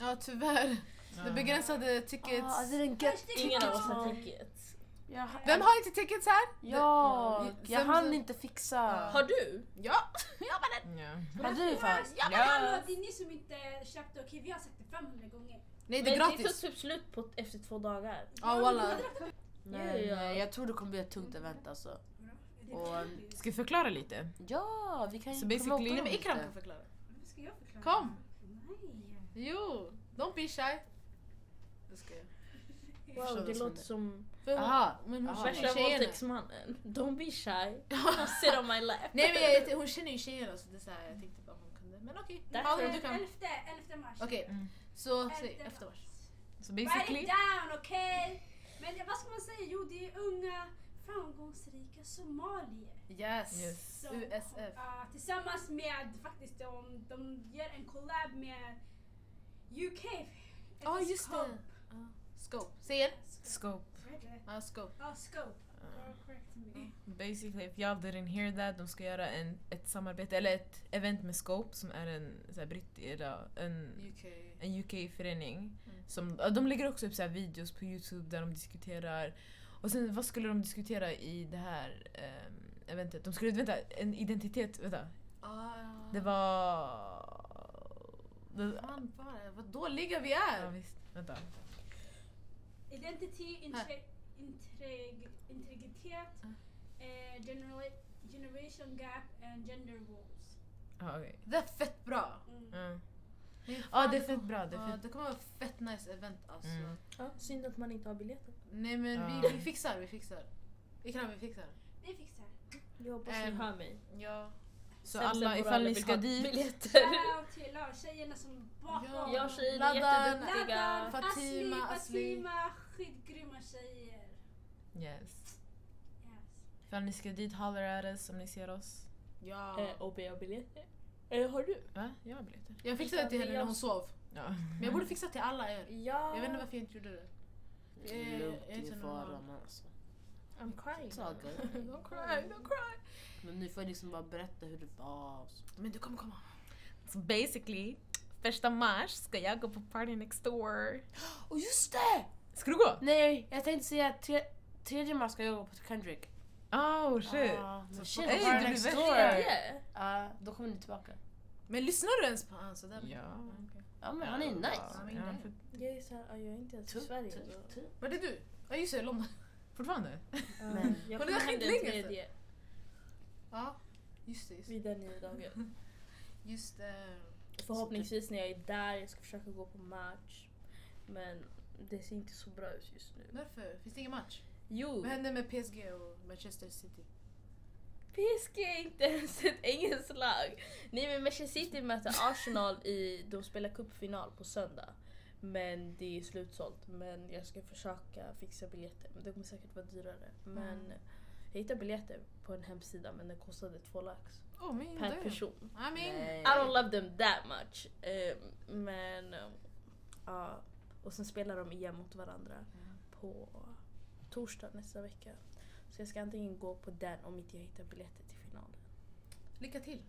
[SPEAKER 1] Ja, tyvärr.
[SPEAKER 4] Ah.
[SPEAKER 1] Det är begränsade tickets.
[SPEAKER 3] Ah, I didn't get
[SPEAKER 2] Ingen av oss har
[SPEAKER 3] tickets.
[SPEAKER 2] ticket.
[SPEAKER 3] Jag,
[SPEAKER 1] Vem har inte tickets här?
[SPEAKER 3] ja,
[SPEAKER 1] Det-
[SPEAKER 3] jag
[SPEAKER 1] Vem-
[SPEAKER 3] hann inte fixa.
[SPEAKER 2] Har du?
[SPEAKER 1] Ja, jag var den.
[SPEAKER 4] Ja.
[SPEAKER 3] Har du fast?
[SPEAKER 5] Ja, men
[SPEAKER 4] Ja.
[SPEAKER 5] hallå, det är ni som inte köpte. Okej, vi har sagt det 500 gånger.
[SPEAKER 1] Nej, det är
[SPEAKER 2] Men det tog
[SPEAKER 1] gratis.
[SPEAKER 2] typ slut på, efter två dagar.
[SPEAKER 1] Ja, walla.
[SPEAKER 3] Nej, nej, jag tror det kommer bli ett tungt event alltså. Och,
[SPEAKER 4] Ska vi förklara lite?
[SPEAKER 3] Ja, vi kan ju
[SPEAKER 4] Så basically-
[SPEAKER 3] promota
[SPEAKER 1] Nej,
[SPEAKER 3] dem
[SPEAKER 1] men Ikram
[SPEAKER 3] lite.
[SPEAKER 1] kan förklara.
[SPEAKER 5] Varför ska jag förklara?
[SPEAKER 1] Kom.
[SPEAKER 5] Nej.
[SPEAKER 1] Jo, don't be shy. Det ska jag.
[SPEAKER 2] Wow, det låter som
[SPEAKER 1] För hon-
[SPEAKER 3] Aha,
[SPEAKER 1] men hon
[SPEAKER 3] aha.
[SPEAKER 1] känner
[SPEAKER 2] värsta
[SPEAKER 1] ju tjejerna.
[SPEAKER 2] våldtäktsmannen. Don't be shy. Sit on my lap.
[SPEAKER 1] Nej men jag, hon känner ju tjejerna så det är så här, jag tänkte bara hon kunde. Men okej,
[SPEAKER 2] Därför-
[SPEAKER 1] Paula du kan.
[SPEAKER 5] Elfte, elfte mars.
[SPEAKER 1] Okej,
[SPEAKER 4] Mm.
[SPEAKER 1] så
[SPEAKER 5] Elfte
[SPEAKER 1] säg efter mars.
[SPEAKER 4] Så
[SPEAKER 5] Write
[SPEAKER 4] basically...
[SPEAKER 5] it down, okej? Men vad ska man säga? Jo, det är unga framgångsrika somalier.
[SPEAKER 1] Yes.
[SPEAKER 4] Yes.
[SPEAKER 5] som,
[SPEAKER 1] USF.
[SPEAKER 5] ah, tillsammans med faktiskt de, de gör en collab med UK.
[SPEAKER 1] Ja just det. Ja. Scope. Säg igen.
[SPEAKER 4] Scope. uh,
[SPEAKER 1] Ja, scope.
[SPEAKER 5] Ja, Ah, Scope. Ja, correct me.
[SPEAKER 4] Basically, if y'all didn't hear that, de ska göra en, ett samarbete, eller ett event med Scope som är en så här, britt, eller en,
[SPEAKER 1] UK.
[SPEAKER 4] en UK-förening.
[SPEAKER 1] Mm.
[SPEAKER 4] Som, ja, de lägger också upp så här, videos på Youtube där de diskuterar. Och sen vad skulle de diskutera i det här ehm, eventet? De skulle, vänta, en identitet, vänta.
[SPEAKER 1] Ah,
[SPEAKER 4] Det var... Det,
[SPEAKER 1] Fan vad är det? vad dåliga vi
[SPEAKER 4] ja,
[SPEAKER 1] är!
[SPEAKER 4] visst, vänta.
[SPEAKER 5] Identity,
[SPEAKER 1] Här.
[SPEAKER 5] intre, intreg, integritet,
[SPEAKER 1] Ah.
[SPEAKER 5] eh, genera- generation gap and gender roles.
[SPEAKER 4] Ja, okej.
[SPEAKER 1] Det är fett bra!
[SPEAKER 5] Mm.
[SPEAKER 4] Ja.
[SPEAKER 1] Nej, fan,
[SPEAKER 4] Ja, det är
[SPEAKER 1] kommer-
[SPEAKER 4] fett bra. Det är
[SPEAKER 1] ja,
[SPEAKER 4] fett.
[SPEAKER 1] det kommer vara ett fett nice event alltså.
[SPEAKER 4] Mm.
[SPEAKER 2] Ja, synd att man inte har biljetter.
[SPEAKER 1] Nej men
[SPEAKER 4] Ja.
[SPEAKER 1] vi, vi fixar, vi fixar. Ikram vi fixar.
[SPEAKER 5] Det fixar
[SPEAKER 2] Jag hoppas ni
[SPEAKER 1] Ehm,
[SPEAKER 2] hör mig.
[SPEAKER 1] Ja.
[SPEAKER 4] Så
[SPEAKER 2] Sen- sen
[SPEAKER 4] alla,
[SPEAKER 2] får
[SPEAKER 4] ifall ni
[SPEAKER 2] vill
[SPEAKER 4] ska
[SPEAKER 2] ha
[SPEAKER 4] dit...
[SPEAKER 2] Biljetter.
[SPEAKER 5] Shoutout till alla tjejerna som bakom.
[SPEAKER 2] Jag och tjejer är
[SPEAKER 1] Laddar,
[SPEAKER 2] jätteduktiga.
[SPEAKER 1] laddar. Fatima,
[SPEAKER 5] Fatima,
[SPEAKER 1] Asli.
[SPEAKER 5] Fatima, skitgrymma tjejer.
[SPEAKER 4] Yes.
[SPEAKER 5] Yes.
[SPEAKER 4] Ifall ni ska dit, holler at us om ni ser oss.
[SPEAKER 1] Ja.
[SPEAKER 4] Eh,
[SPEAKER 2] Eh, Och be om biljetter. Eh, har du?
[SPEAKER 4] Va? Jag har biljetter.
[SPEAKER 1] Jag fixade till henne när hon sov.
[SPEAKER 4] Ja.
[SPEAKER 1] Men jag borde fixa till alla er.
[SPEAKER 2] Ja.
[SPEAKER 1] Jag vet inte varför jag inte gjorde det. Eh,
[SPEAKER 3] Lugnt,
[SPEAKER 1] jag är
[SPEAKER 3] det
[SPEAKER 1] inte
[SPEAKER 3] är fara men alltså.
[SPEAKER 2] I'm crying.
[SPEAKER 3] It's all good.
[SPEAKER 1] Don't cry, don't cry.
[SPEAKER 3] Men nu får jag liksom bara berätta hur det var. och så.
[SPEAKER 1] Men du kommer komma.
[SPEAKER 4] Så basically, första mars ska jag gå på party next door.
[SPEAKER 3] Och just det!
[SPEAKER 4] Ska du gå?
[SPEAKER 3] Nej, jag tänkte säga att tre, tredje mars ska jag gå på Kendrick.
[SPEAKER 4] Oh shit.
[SPEAKER 3] Ah, men
[SPEAKER 4] Så
[SPEAKER 3] shit,
[SPEAKER 4] fuck-
[SPEAKER 3] bara
[SPEAKER 4] Ey, du
[SPEAKER 3] next
[SPEAKER 4] blir
[SPEAKER 3] door.
[SPEAKER 2] Tredje?
[SPEAKER 3] Ja, då kommer ni tillbaka.
[SPEAKER 1] Men lyssnar du ens på honom? Sådär.
[SPEAKER 4] Ja.
[SPEAKER 3] Ja men han är nice. Typ.
[SPEAKER 1] Ja, men
[SPEAKER 4] Ja,
[SPEAKER 1] det.
[SPEAKER 4] fort-
[SPEAKER 2] Jag är såhär, jag är inte ens i
[SPEAKER 3] Tuff,
[SPEAKER 2] Sverige.
[SPEAKER 3] tuff,
[SPEAKER 2] då.
[SPEAKER 3] tuff.
[SPEAKER 1] Var det du? Ja just det, London.
[SPEAKER 4] Fortfarande?
[SPEAKER 2] Ja.
[SPEAKER 3] Men-
[SPEAKER 2] jag
[SPEAKER 1] Men det
[SPEAKER 2] kommer
[SPEAKER 1] var
[SPEAKER 2] hem den
[SPEAKER 1] skitlänge sedan.
[SPEAKER 2] tredje.
[SPEAKER 1] Ja, just det. Just det.
[SPEAKER 2] Vid den nio dagen.
[SPEAKER 1] Just eh, det.
[SPEAKER 2] Förhoppningsvis när jag är där, jag ska försöka gå på match. Men det ser inte så bra ut just nu.
[SPEAKER 1] Varför? Finns det ingen match?
[SPEAKER 2] Jo,
[SPEAKER 1] Vad hände med PSG och Manchester City?
[SPEAKER 2] PSG är inte ens ett engelskt lag. Nej men Manchester City möter Arsenal i, de spelar cupfinal på söndag. Men det är slutsålt. Men jag ska försöka fixa biljetter. Men det kommer säkert vara dyrare. Men jag hittade biljetter på en hemsida men det kostade två lax
[SPEAKER 1] Oh, min
[SPEAKER 2] per
[SPEAKER 1] damn.
[SPEAKER 2] person.
[SPEAKER 1] I mean,
[SPEAKER 2] I don't love them that much. Eh, men eh, ja. och sen spelar de igen mot varandra på torsdag nästa vecka. Så jag ska antingen gå på den om inte jag hittar biljetter till finalen.
[SPEAKER 1] lycka till.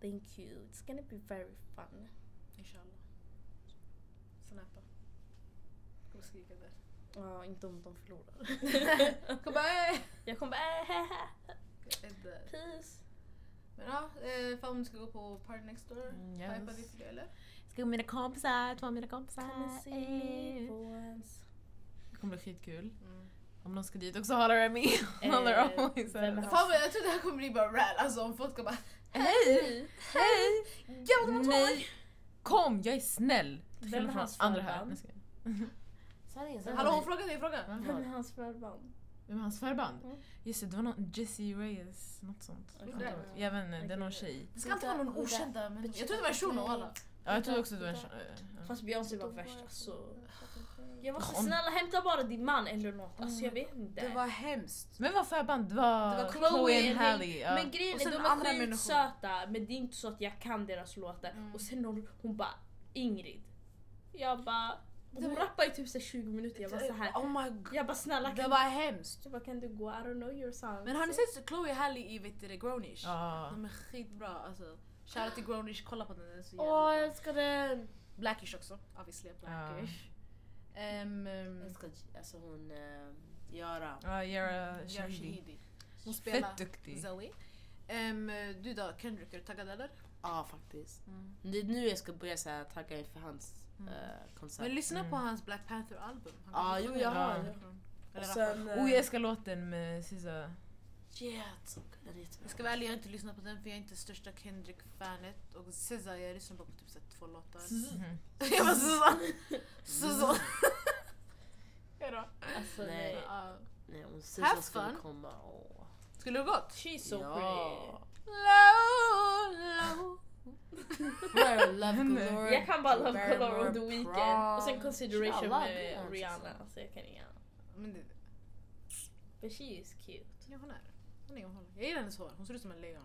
[SPEAKER 2] Thank you. It's gonna be very fun.
[SPEAKER 1] Inshallah. Snappa. Kommer skrika där.
[SPEAKER 2] Ja, inte om de förlorar.
[SPEAKER 1] Kom bara, eh,
[SPEAKER 2] jag kommer bara äh,
[SPEAKER 1] ett där.
[SPEAKER 2] peace.
[SPEAKER 1] Men ja, eh, fan om du ska gå på Party Next Door.
[SPEAKER 4] Mm, yes.
[SPEAKER 1] Hypar vi för det eller?
[SPEAKER 4] Ska gå med mina kompisar, två av mina kompisar.
[SPEAKER 2] Come and see
[SPEAKER 4] Ey.
[SPEAKER 2] me for once.
[SPEAKER 4] Det kommer bli skitkul.
[SPEAKER 1] Mm.
[SPEAKER 4] Om någon ska dit också, holler at me. holler
[SPEAKER 2] Eh,
[SPEAKER 4] always at
[SPEAKER 2] vem
[SPEAKER 4] me.
[SPEAKER 2] är-
[SPEAKER 1] Fan men jag tror det här kommer bli bara rad. Alltså om folk ska bara
[SPEAKER 4] Hej!
[SPEAKER 3] Mm.
[SPEAKER 4] Hej!
[SPEAKER 1] Ja, de har tagit!
[SPEAKER 4] Nej! Kom, jag är snäll! Till
[SPEAKER 2] Vem är
[SPEAKER 4] skillnad från
[SPEAKER 2] hans
[SPEAKER 4] andra här.
[SPEAKER 2] förband?
[SPEAKER 4] Nej, jag skojar.
[SPEAKER 3] Sanningen,
[SPEAKER 1] Hallå hon
[SPEAKER 3] sanningen.
[SPEAKER 1] frågade dig frågan.
[SPEAKER 4] Vem
[SPEAKER 2] Vem är
[SPEAKER 4] var-
[SPEAKER 2] hans förband?
[SPEAKER 4] Vem är hans förband?
[SPEAKER 2] Mm.
[SPEAKER 4] Just det, det var någon Jessie Reyes, något sånt.
[SPEAKER 2] Okej.
[SPEAKER 4] Antar jag. Jag vet inte, eh, det är någon tjej.
[SPEAKER 1] Det ska alltid vara någon okänd där. men- Jag trodde det var en shuno alla.
[SPEAKER 4] Ja, jag tror också det var en tjej. Ja.
[SPEAKER 2] Fast Beyoncé var värst alltså.
[SPEAKER 3] Mm.
[SPEAKER 2] Jag var så snälla hämta bara din man eller något. Alltså jag vet inte.
[SPEAKER 3] Det var hemskt.
[SPEAKER 4] Men vad förband? Det var,
[SPEAKER 2] Det var
[SPEAKER 4] Chloe,
[SPEAKER 2] Chloe
[SPEAKER 4] and
[SPEAKER 2] and
[SPEAKER 4] Halle. Ja.
[SPEAKER 2] Men grejen
[SPEAKER 1] Och
[SPEAKER 2] är
[SPEAKER 1] sen
[SPEAKER 2] de
[SPEAKER 1] andra
[SPEAKER 2] är
[SPEAKER 1] människor.
[SPEAKER 2] skitsöta men det är inte så att jag kan deras låtar.
[SPEAKER 1] Mm.
[SPEAKER 2] Och sen hon, hon bara Ingrid. Jag bara
[SPEAKER 1] Det
[SPEAKER 2] hon
[SPEAKER 1] var-
[SPEAKER 2] rappar i typ så här 20 minuter. Jag bara så här.
[SPEAKER 3] Oh my god.
[SPEAKER 2] Jag bara snälla
[SPEAKER 3] Det
[SPEAKER 2] kan,
[SPEAKER 3] var hemskt.
[SPEAKER 2] jag bara, kan du gå? I don't know your song.
[SPEAKER 1] Men har ni sett Chloe Halle i vet du, det, Grownish?
[SPEAKER 4] Ja.
[SPEAKER 1] De är skitbra alltså. Shoutout till Grownish, kolla på den. den är så jävla
[SPEAKER 3] Åh,
[SPEAKER 1] bra.
[SPEAKER 3] jag älskar den.
[SPEAKER 1] Blackish också, obviously Blackish. Ehm,
[SPEAKER 3] Jag
[SPEAKER 1] ehm,
[SPEAKER 3] älskar alltså hon... eh, Göra.
[SPEAKER 4] Ja, Yara
[SPEAKER 1] Yara
[SPEAKER 4] Shahidi.
[SPEAKER 1] Shahidi. Hon
[SPEAKER 4] Fett
[SPEAKER 1] spelar
[SPEAKER 4] duktig.
[SPEAKER 1] Zoe. Ehm, du då Kendrick, är du taggad eller?
[SPEAKER 3] Ja, faktiskt.
[SPEAKER 1] Mm.
[SPEAKER 3] Det är nu jag ska börja så här, tagga inför hans
[SPEAKER 1] Mm.
[SPEAKER 3] eh, konsert.
[SPEAKER 1] Men lyssna på
[SPEAKER 4] Mm.
[SPEAKER 1] hans Black Panther album. Han
[SPEAKER 3] Ja,
[SPEAKER 1] kommer
[SPEAKER 3] jo,
[SPEAKER 1] sjunga
[SPEAKER 3] jag
[SPEAKER 1] den.
[SPEAKER 4] har.
[SPEAKER 1] Mm. Eller
[SPEAKER 2] Och
[SPEAKER 1] rappa.
[SPEAKER 2] sen, eh,
[SPEAKER 4] Oh, jag älskar låten med SZA.
[SPEAKER 3] Yeah, it's so good. Den är jättebra.
[SPEAKER 1] Jag ska vara ärlig, jag har inte lyssnat på den för jag är inte största Kendrick-fanet. Och SZA, jag lyssnar bara på typ så här två låtar.
[SPEAKER 4] Mhm.
[SPEAKER 1] jag bara SZA! SZA! Hejdå.
[SPEAKER 2] alltså,
[SPEAKER 3] Nej.
[SPEAKER 2] nej.
[SPEAKER 1] Ja.
[SPEAKER 3] Nej, om
[SPEAKER 1] Have
[SPEAKER 3] Susan skulle
[SPEAKER 1] fun.
[SPEAKER 3] komma. Åh.
[SPEAKER 1] Skulle du gått?
[SPEAKER 2] She's so
[SPEAKER 3] ja.
[SPEAKER 1] Low, low.
[SPEAKER 3] We're love
[SPEAKER 4] Nej.
[SPEAKER 3] galore.
[SPEAKER 2] pretty. Jag kan bara Love
[SPEAKER 3] Very
[SPEAKER 2] Color
[SPEAKER 3] more
[SPEAKER 2] on the weekend.
[SPEAKER 3] prom.
[SPEAKER 2] Och sen Consideration
[SPEAKER 3] Inshallah,
[SPEAKER 2] med
[SPEAKER 3] Beyoncé.
[SPEAKER 2] Rihanna. Alltså jag kan inga.
[SPEAKER 1] Men det,
[SPEAKER 2] But she is cute.
[SPEAKER 1] ja, hon är hon är hon. Jag gillar hennes hår, hon ser ut som en lejon.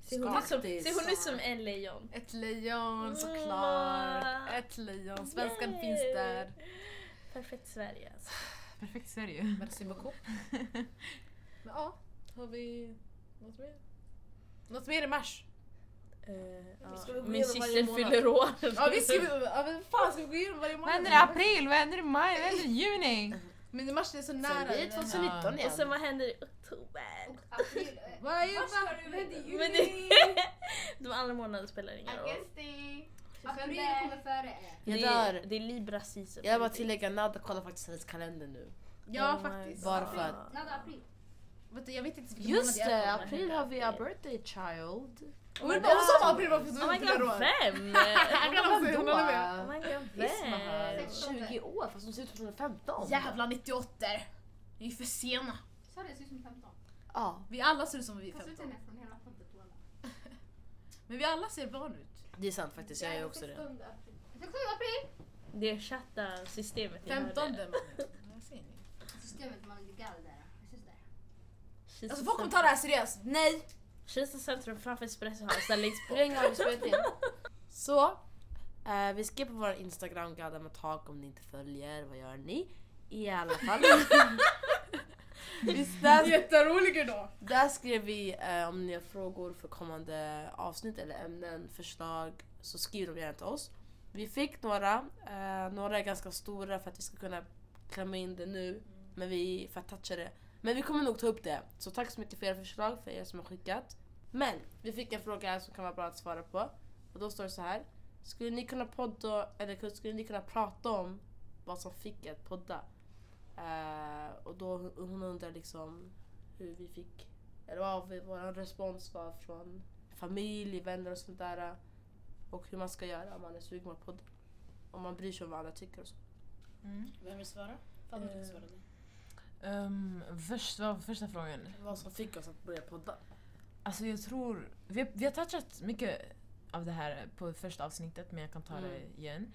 [SPEAKER 2] Ser hon, ut som,
[SPEAKER 3] Skaktis.
[SPEAKER 2] ser hon ut som en lejon?
[SPEAKER 1] Ett lejon
[SPEAKER 2] Mm.
[SPEAKER 1] såklart. Ett lejon. Svenskan
[SPEAKER 2] Yay.
[SPEAKER 1] finns där.
[SPEAKER 2] Perfekt Sverige alltså.
[SPEAKER 4] Perfekt Sverige.
[SPEAKER 1] Merci beaucoup. Men ja, har vi något mer? Något mer i mars? Ska vi gå
[SPEAKER 2] Eh,
[SPEAKER 1] igenom
[SPEAKER 2] Min
[SPEAKER 1] varje
[SPEAKER 2] syster
[SPEAKER 1] månad?
[SPEAKER 2] fyller år.
[SPEAKER 1] Ja vi ska, ja, men fan ska vi gå igenom varje
[SPEAKER 4] Vad händer i
[SPEAKER 1] månad?
[SPEAKER 4] april? Vad händer i maj? Vad händer i juni?
[SPEAKER 1] Men i mars det är så
[SPEAKER 3] Sen
[SPEAKER 1] nära.
[SPEAKER 3] vi är 2019
[SPEAKER 2] Och sen
[SPEAKER 3] igen.
[SPEAKER 2] vad händer i oktober?
[SPEAKER 5] April. eh,
[SPEAKER 1] Vad är
[SPEAKER 5] Vad ska du med
[SPEAKER 1] det?
[SPEAKER 5] juni?
[SPEAKER 2] Men det, de andra månaderna spelar ingen roll.
[SPEAKER 5] Augusti. April kommer före eh, er.
[SPEAKER 3] Jag
[SPEAKER 2] Det är,
[SPEAKER 3] dör.
[SPEAKER 2] det är Libra season.
[SPEAKER 3] Jag vill bara tillägga, Nadda kollar faktiskt hennes kalender nu.
[SPEAKER 1] Ja
[SPEAKER 2] Oh my
[SPEAKER 1] faktiskt.
[SPEAKER 3] Bara
[SPEAKER 2] god.
[SPEAKER 3] för att-
[SPEAKER 5] Nada april.
[SPEAKER 1] Vet du, Jag vet inte vilken
[SPEAKER 3] Just
[SPEAKER 1] månad
[SPEAKER 3] det,
[SPEAKER 1] jag är på.
[SPEAKER 3] april har vi our birthday child.
[SPEAKER 1] Hon är bara- hon sa bara april bara för
[SPEAKER 2] Oh my
[SPEAKER 1] att hon fyller
[SPEAKER 2] god,
[SPEAKER 1] år.
[SPEAKER 2] vem?
[SPEAKER 1] Jag kan också, hon håller med.
[SPEAKER 2] Oh my god,
[SPEAKER 3] Isma
[SPEAKER 2] vem?
[SPEAKER 3] här, 20 år fast hon ser ut som hon är 15.
[SPEAKER 1] Jävla 98 Ni är för sena.
[SPEAKER 5] Sa det ser ut som 15?
[SPEAKER 3] Ja,
[SPEAKER 1] Vi alla ser ut som vi är
[SPEAKER 5] Fast ut
[SPEAKER 1] 15.
[SPEAKER 5] henne från hela folket Lola.
[SPEAKER 1] Men vi alla ser barn ut.
[SPEAKER 3] det är sant faktiskt, jag är också det.
[SPEAKER 5] 16 april. 16 april!
[SPEAKER 2] Det chatta systemet. jag
[SPEAKER 1] 15
[SPEAKER 2] hörde.
[SPEAKER 1] mannen. Vad säger ni?
[SPEAKER 5] Systemet man ligger där. eh, Syster.
[SPEAKER 1] Alltså folk kommer ta det här seriöst. Nej!
[SPEAKER 2] Kista centrum framför Espresso House, där läggs på.
[SPEAKER 3] länge har vi spelat in? Så, eh, vi skippar vår Instagram, gadda med tak om ni inte följer. Vad gör ni? I alla fall. Visst, där,
[SPEAKER 2] Jätterolig idag!
[SPEAKER 3] där skrev vi eh, om ni har frågor för kommande avsnitt eller ämnen, förslag, så skriv dem gärna till oss. Vi fick några, eh, några är ganska stora för att vi ska kunna klämma in det nu, men vi, för att toucha det. Men vi kommer nog ta upp det. Så tack så mycket för era förslag, för er som har skickat. Men vi fick en fråga här som kan vara bra att svara på. Och då står det så här. Skulle ni kunna podda, eller skulle ni kunna prata om vad som fick er att podda? Eh, och då hon hon undrar liksom hur vi fick, eller vad vi, vår respons var från familj, vänner och sånt där. Och hur man ska göra om man är sugen på att podda. Om man bryr sig om vad andra tycker och så.
[SPEAKER 4] Mm.
[SPEAKER 1] Vem vill svara? Fan, du
[SPEAKER 4] Eh.
[SPEAKER 1] svarade.
[SPEAKER 4] Ehm, först, vad var första frågan?
[SPEAKER 3] Vad som fick oss att börja podda.
[SPEAKER 4] Alltså jag tror... Vi har, vi har touchat mycket av det här på första avsnittet men jag kan ta
[SPEAKER 3] Mm.
[SPEAKER 4] det igen.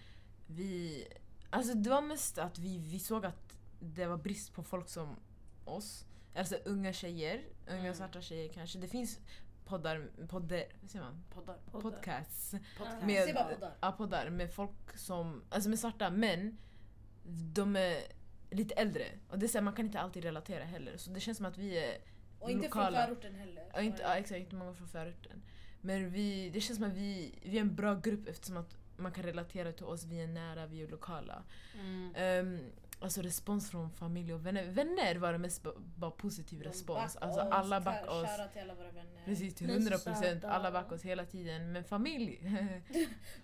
[SPEAKER 4] Vi... Alltså det var mest att vi, vi såg att det var brist på folk som oss. Alltså unga tjejer, unga
[SPEAKER 3] Mm.
[SPEAKER 4] svarta tjejer kanske. Det finns poddar, podder, vad säger man?
[SPEAKER 3] Poddar. Podcast.
[SPEAKER 4] Podcasts.
[SPEAKER 1] Ja.
[SPEAKER 4] Med,
[SPEAKER 1] Säg bara poddar.
[SPEAKER 4] Ja, poddar. Med folk som, alltså med svarta män. De är lite äldre. Och det är så här, man kan inte alltid relatera heller. Så det känns som att vi är
[SPEAKER 1] Och inte
[SPEAKER 4] lokala.
[SPEAKER 1] från förorten heller.
[SPEAKER 4] Ja, inte, ja, exakt, inte många från förorten. Men vi, det känns som att vi, vi är en bra grupp eftersom att man kan relatera till oss, vi är nära, vi är lokala.
[SPEAKER 3] Mm.
[SPEAKER 4] Ehm, alltså respons från familj och vänner. Vänner var det mest ba, bara positiv
[SPEAKER 1] De
[SPEAKER 4] respons.
[SPEAKER 1] backar
[SPEAKER 4] Alltså
[SPEAKER 1] oss,
[SPEAKER 4] alla
[SPEAKER 1] ka-
[SPEAKER 4] backade oss.
[SPEAKER 1] shoutout till alla våra vänner.
[SPEAKER 4] Precis, till
[SPEAKER 2] Ni är
[SPEAKER 4] 100
[SPEAKER 2] så
[SPEAKER 4] procent.
[SPEAKER 2] söta.
[SPEAKER 4] Alla backade oss hela tiden. Men familj...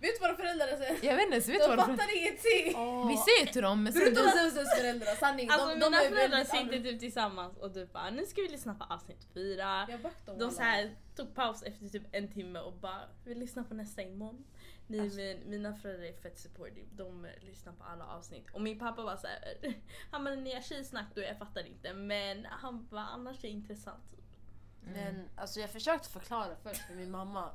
[SPEAKER 1] Vet du vad de föräldrar säger?
[SPEAKER 4] jag vet inte, så vet
[SPEAKER 1] De
[SPEAKER 4] vad de
[SPEAKER 1] fattar ingenting!
[SPEAKER 3] Åh.
[SPEAKER 4] Vi ser ju till dem men sen...
[SPEAKER 1] Förutom Zeus föräldrar, sanning.
[SPEAKER 2] Alltså
[SPEAKER 1] de,
[SPEAKER 2] mina
[SPEAKER 1] de är
[SPEAKER 2] föräldrar
[SPEAKER 1] väldigt
[SPEAKER 2] sitter
[SPEAKER 1] annorlunda.
[SPEAKER 2] typ tillsammans och du bara nu ska vi lyssna på avsnitt fyra.
[SPEAKER 1] Jag backade dem
[SPEAKER 2] De
[SPEAKER 1] alla.
[SPEAKER 2] så här, tog paus efter typ en timme och bara vi lyssnar på nästa imorgon. Ni,
[SPEAKER 3] Alltså.
[SPEAKER 2] min, mina föräldrar är fett supportive, de eh, lyssnar på alla avsnitt. Och min pappa var så här, han bara ni har tjejsnack då jag fattar inte men han bara annars är det intressant. typ."
[SPEAKER 3] Men alltså jag försökte förklara först för min mamma.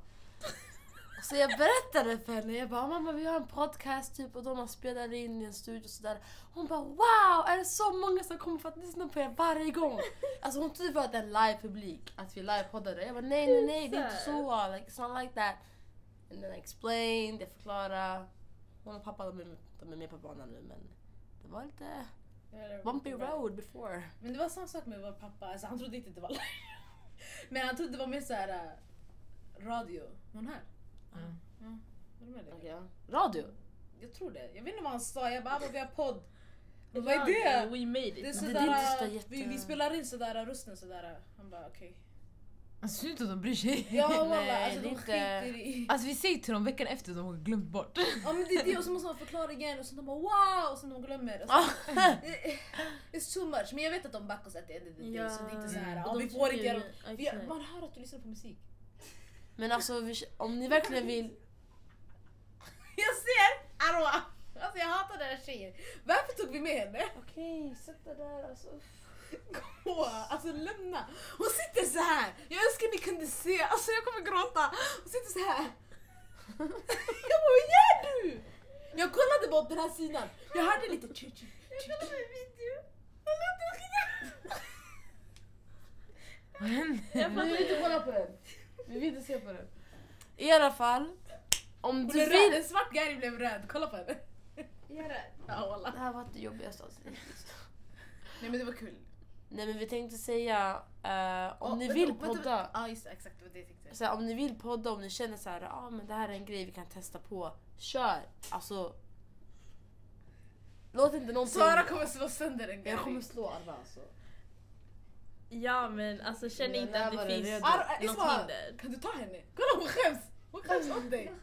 [SPEAKER 3] Och Så jag berättade för henne, jag bara mamma vi har en podcast typ och de har spelat in i en studio och sådär. Hon bara wow, är det så många som kommer för att lyssna på er varje gång? Alltså hon trodde bara att det är live publik, att vi livepoddade. Jag bara nej nej nej det är inte så, like, it's not like that. And then I explained, jag förklarade. Hon och pappa de är, de är med på banan nu men det var lite
[SPEAKER 1] Eller-
[SPEAKER 3] bumpy road before.
[SPEAKER 1] Men det var samma sak med vår pappa, alltså, han trodde inte det var live. Men han trodde det var mer såhär eh, radio. Var hon här?
[SPEAKER 4] Mm.
[SPEAKER 1] Ja. Var du med det?
[SPEAKER 3] Okay. Radio?
[SPEAKER 1] Jag tror det. Jag vet inte vad han sa, jag bara "Ah, men vi har podd. Men vad
[SPEAKER 2] Ja,
[SPEAKER 1] är det?
[SPEAKER 2] We made it.
[SPEAKER 1] Det är
[SPEAKER 3] Men det är inte så
[SPEAKER 1] sådär,
[SPEAKER 3] jätte-
[SPEAKER 1] vi, vi spelar in sådär rösten sådär. Han bara okej.
[SPEAKER 4] Alltså sluta de bryr sig.
[SPEAKER 1] Ja
[SPEAKER 3] Nej,
[SPEAKER 1] walla, alltså
[SPEAKER 3] det
[SPEAKER 1] de
[SPEAKER 3] är inte-
[SPEAKER 1] skiter i.
[SPEAKER 4] Alltså vi säger till dem veckan efter de har glömt bort.
[SPEAKER 1] Ja men det är det och så måste man förklara igen och så de bara wow och så de glömmer. Och så, Eh, It's too much men jag vet att de backar oss att det är det, det, det, så det är inte såhär
[SPEAKER 2] Mm.
[SPEAKER 1] ja,
[SPEAKER 2] Och
[SPEAKER 1] vi
[SPEAKER 2] de
[SPEAKER 1] får
[SPEAKER 2] tycker
[SPEAKER 1] inte göra
[SPEAKER 2] ju-
[SPEAKER 1] vi,
[SPEAKER 2] exakt.
[SPEAKER 1] Man hör att du lyssnar på musik.
[SPEAKER 3] Men alltså vi- om ni verkligen vill
[SPEAKER 1] Jag ser Arwa! Alltså jag hatar den här tjejen. Varför tog vi med henne?
[SPEAKER 3] Okej, sätt dig där alltså.
[SPEAKER 1] Gå, alltså lämna. Hon sitter så här. Jag önskar ni kunde se, alltså jag kommer gråta. Hon sitter så här. Jag bara, vad gör du? Jag kollade bara åt den här sidan. Jag hörde lite tju tju Jag kollade på video.
[SPEAKER 4] Vad händer?
[SPEAKER 2] Jag fattar inte.
[SPEAKER 3] kolla på den. Vi vill inte se på den. I alla fall, om
[SPEAKER 1] Hon
[SPEAKER 3] du
[SPEAKER 1] blev röd,
[SPEAKER 3] vill...
[SPEAKER 1] en svart grej blev röd. Kolla på henne. Ja, wallah.
[SPEAKER 3] Det här var det jobbigaste avsnittet.
[SPEAKER 1] Nej men det var kul.
[SPEAKER 3] Nej men vi tänkte säga, eh, om
[SPEAKER 1] Ja,
[SPEAKER 3] ni
[SPEAKER 1] vänta,
[SPEAKER 3] vill
[SPEAKER 1] vänta,
[SPEAKER 3] podda,
[SPEAKER 1] vänta. Ja just det, exakt det var det jag tänkte.
[SPEAKER 3] så här, om ni vill podda, om ni känner så här, ah, men det här är en grej vi kan testa på, kör! Alltså, låt inte någonting...
[SPEAKER 1] Sara kommer slå sönder en grej.
[SPEAKER 3] Jag kommer slå Arva alltså.
[SPEAKER 2] Ja men alltså känn
[SPEAKER 3] Mina
[SPEAKER 2] inte att det
[SPEAKER 3] nerver är
[SPEAKER 2] finns
[SPEAKER 3] redo.
[SPEAKER 1] Ar-
[SPEAKER 2] något
[SPEAKER 1] Isma,
[SPEAKER 2] hinder.
[SPEAKER 1] kan du ta henne? Kolla hon skäms! Hon skäms åt dig.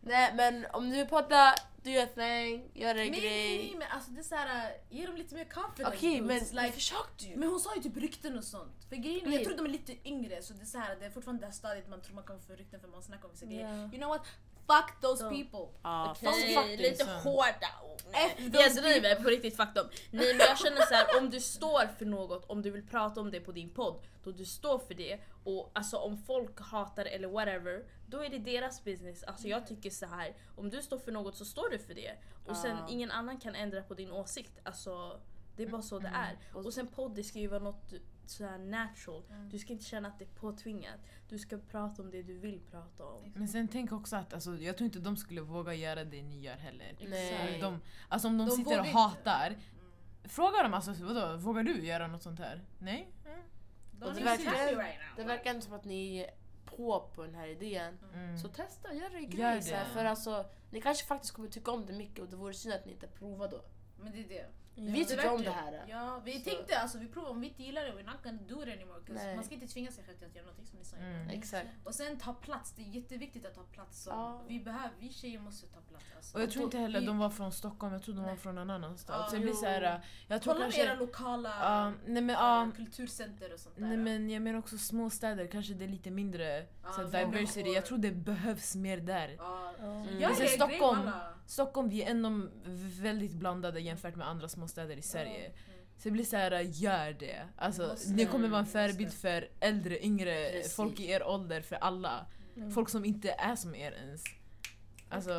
[SPEAKER 3] Nej men om du vill podda, do your thing, gör en
[SPEAKER 1] Nej, nej, nej
[SPEAKER 3] grej.
[SPEAKER 1] men alltså det är såhär, ge dem lite mer confidence.
[SPEAKER 3] Okej men
[SPEAKER 1] boost,
[SPEAKER 3] jag
[SPEAKER 1] like,
[SPEAKER 3] försökte ju.
[SPEAKER 1] men hon sa ju typ rykten och sånt. För grejen är,
[SPEAKER 3] Nej.
[SPEAKER 1] jag tror de är lite yngre så det är så här, det är fortfarande det här stadiet man tror man kan få rykten för man snackar om vissa grejer. You know what? Fuck those
[SPEAKER 2] Ja.
[SPEAKER 1] people!
[SPEAKER 3] Ah,
[SPEAKER 2] Okej,
[SPEAKER 3] fuck you.
[SPEAKER 2] lite
[SPEAKER 4] så.
[SPEAKER 2] hårda ord. Nej,
[SPEAKER 1] F, de
[SPEAKER 2] Jag driver på riktigt faktum. Nej men jag känner så här, om du står för något, om du vill prata om det på din podd, då du står för det och alltså om folk hatar eller whatever, då är det deras business. Alltså jag tycker så här, om du står för något så står du för det. Och sen
[SPEAKER 3] Ja.
[SPEAKER 2] ingen annan kan ändra på din åsikt. Alltså Det är bara så det är.
[SPEAKER 3] Och-
[SPEAKER 2] Och sen podd det ska ju vara något såhär natural. Du ska inte känna att det är påtvingat. Du ska prata om det du vill prata om.
[SPEAKER 4] Men sen tänk också att alltså, jag tror inte de skulle våga göra det ni gör heller.
[SPEAKER 3] Nej.
[SPEAKER 4] De, alltså om de,
[SPEAKER 1] De
[SPEAKER 4] sitter och
[SPEAKER 1] vågar inte. Mm.
[SPEAKER 4] hatar, fråga dem alltså vadå, vågar du göra något sånt här? Nej? Mm.
[SPEAKER 3] Och det, verkar, det verkar inte som att ni är på på den här idén.
[SPEAKER 4] Mm.
[SPEAKER 3] Så testa, gör er
[SPEAKER 4] Gör
[SPEAKER 3] grej.
[SPEAKER 4] det.
[SPEAKER 3] Så här, för alltså, ni kanske faktiskt kommer tycka om det mycket och det vore synd att ni inte provar då.
[SPEAKER 1] Men det är det.
[SPEAKER 3] Vi
[SPEAKER 1] Det
[SPEAKER 3] tycker om det
[SPEAKER 1] verkar-
[SPEAKER 3] här.
[SPEAKER 1] Ja, vi
[SPEAKER 3] Så-
[SPEAKER 1] tänkte alltså vi provar om vi inte gillar det, we're not gonna do it anymore. 'cause
[SPEAKER 3] Nej.
[SPEAKER 1] Man ska inte tvinga sig själv till att göra någonting som ni sa innan.
[SPEAKER 4] Mm.
[SPEAKER 3] Exakt.
[SPEAKER 1] Och sen ta plats, det är jätteviktigt att ta plats. Som
[SPEAKER 3] Ja.
[SPEAKER 1] vi, behöver, vi tjejer måste ta plats. Alltså.
[SPEAKER 4] Och jag tror inte heller att
[SPEAKER 1] Vi-
[SPEAKER 4] de var från Stockholm, jag tror de var
[SPEAKER 1] Nej.
[SPEAKER 4] från en annan stad.
[SPEAKER 1] Ja,
[SPEAKER 4] så jag blir
[SPEAKER 1] jo.
[SPEAKER 4] såhär, jag tror
[SPEAKER 1] Kolla med
[SPEAKER 4] kanske...
[SPEAKER 1] era lokala
[SPEAKER 4] Ja, nej men ja,
[SPEAKER 1] eh, kulturcenter och sånt där.
[SPEAKER 4] Nej men jag menar också små städer, kanske det är lite mindre
[SPEAKER 1] Ja,
[SPEAKER 4] så här,
[SPEAKER 1] människor.
[SPEAKER 4] diversity. Jag tror det behövs mer där.
[SPEAKER 1] Ja.
[SPEAKER 3] Mm.
[SPEAKER 1] Gör
[SPEAKER 4] Men sen
[SPEAKER 1] er grej,
[SPEAKER 4] Stockholm-
[SPEAKER 1] walla.
[SPEAKER 4] Stockholm, vi är ändå väldigt blandade jämfört med andra småstäder i Sverige.
[SPEAKER 1] Mm.
[SPEAKER 4] Så det blir så här, gör det. Alltså,
[SPEAKER 1] Måste.
[SPEAKER 4] ni kommer vara en
[SPEAKER 1] Mm,
[SPEAKER 4] förebild
[SPEAKER 1] måste.
[SPEAKER 4] för äldre, yngre,
[SPEAKER 3] Precis.
[SPEAKER 4] folk i er ålder, för alla.
[SPEAKER 2] Mm.
[SPEAKER 4] Folk som inte är som er ens. Alltså,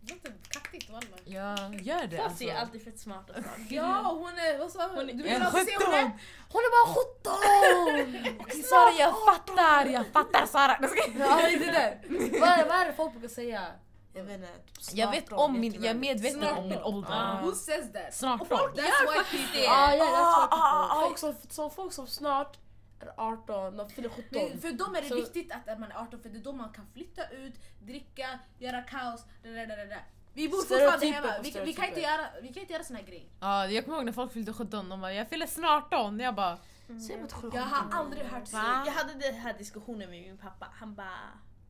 [SPEAKER 1] Det låter kattigt walla.
[SPEAKER 4] ja, gör det.
[SPEAKER 2] Fast
[SPEAKER 4] Alltså.
[SPEAKER 2] det är alltid fett smarta saker.
[SPEAKER 1] Ja hon är, vad sa hon? Du
[SPEAKER 4] Jag är
[SPEAKER 1] vill alltid se hon är?
[SPEAKER 4] 17!
[SPEAKER 3] Hon är bara 17!
[SPEAKER 4] Okej Sara, jag fattar! Jag fattar Sara! Jag ska-
[SPEAKER 3] ja, det där. Vad, är, vad är det folk brukar säga? Jag vet inte. typ
[SPEAKER 4] Jag vet
[SPEAKER 3] snart
[SPEAKER 4] om min, jag är
[SPEAKER 3] jätteväl.
[SPEAKER 4] medveten om min
[SPEAKER 2] Ja.
[SPEAKER 4] ålder.
[SPEAKER 1] Who says that?
[SPEAKER 4] Snart då.
[SPEAKER 1] That's why people.
[SPEAKER 3] Ja, ja, that's what
[SPEAKER 4] Ah,
[SPEAKER 3] people-
[SPEAKER 4] ah, ah,
[SPEAKER 3] folk som, som folk som snart är 18, de fyller 17.
[SPEAKER 1] Men för dem är det
[SPEAKER 3] Så-
[SPEAKER 1] viktigt att man är 18 för det är då man kan flytta ut, dricka, göra kaos. Da, da, da, da, da. Vi bor fortfarande
[SPEAKER 3] Stereotyper
[SPEAKER 1] hemma,
[SPEAKER 3] på
[SPEAKER 1] vi, vi, kan inte
[SPEAKER 3] stereotyper.
[SPEAKER 1] göra, vi kan inte göra såna här grejer.
[SPEAKER 4] Ja, jag kommer ihåg när folk fyllde 17, de bara “jag fyller snart 18”. Jag bara
[SPEAKER 3] Säg bara att sju-
[SPEAKER 1] Jag
[SPEAKER 4] Mm.
[SPEAKER 1] har aldrig hört så.
[SPEAKER 2] Jag hade den här diskussionen med min pappa. Han bara,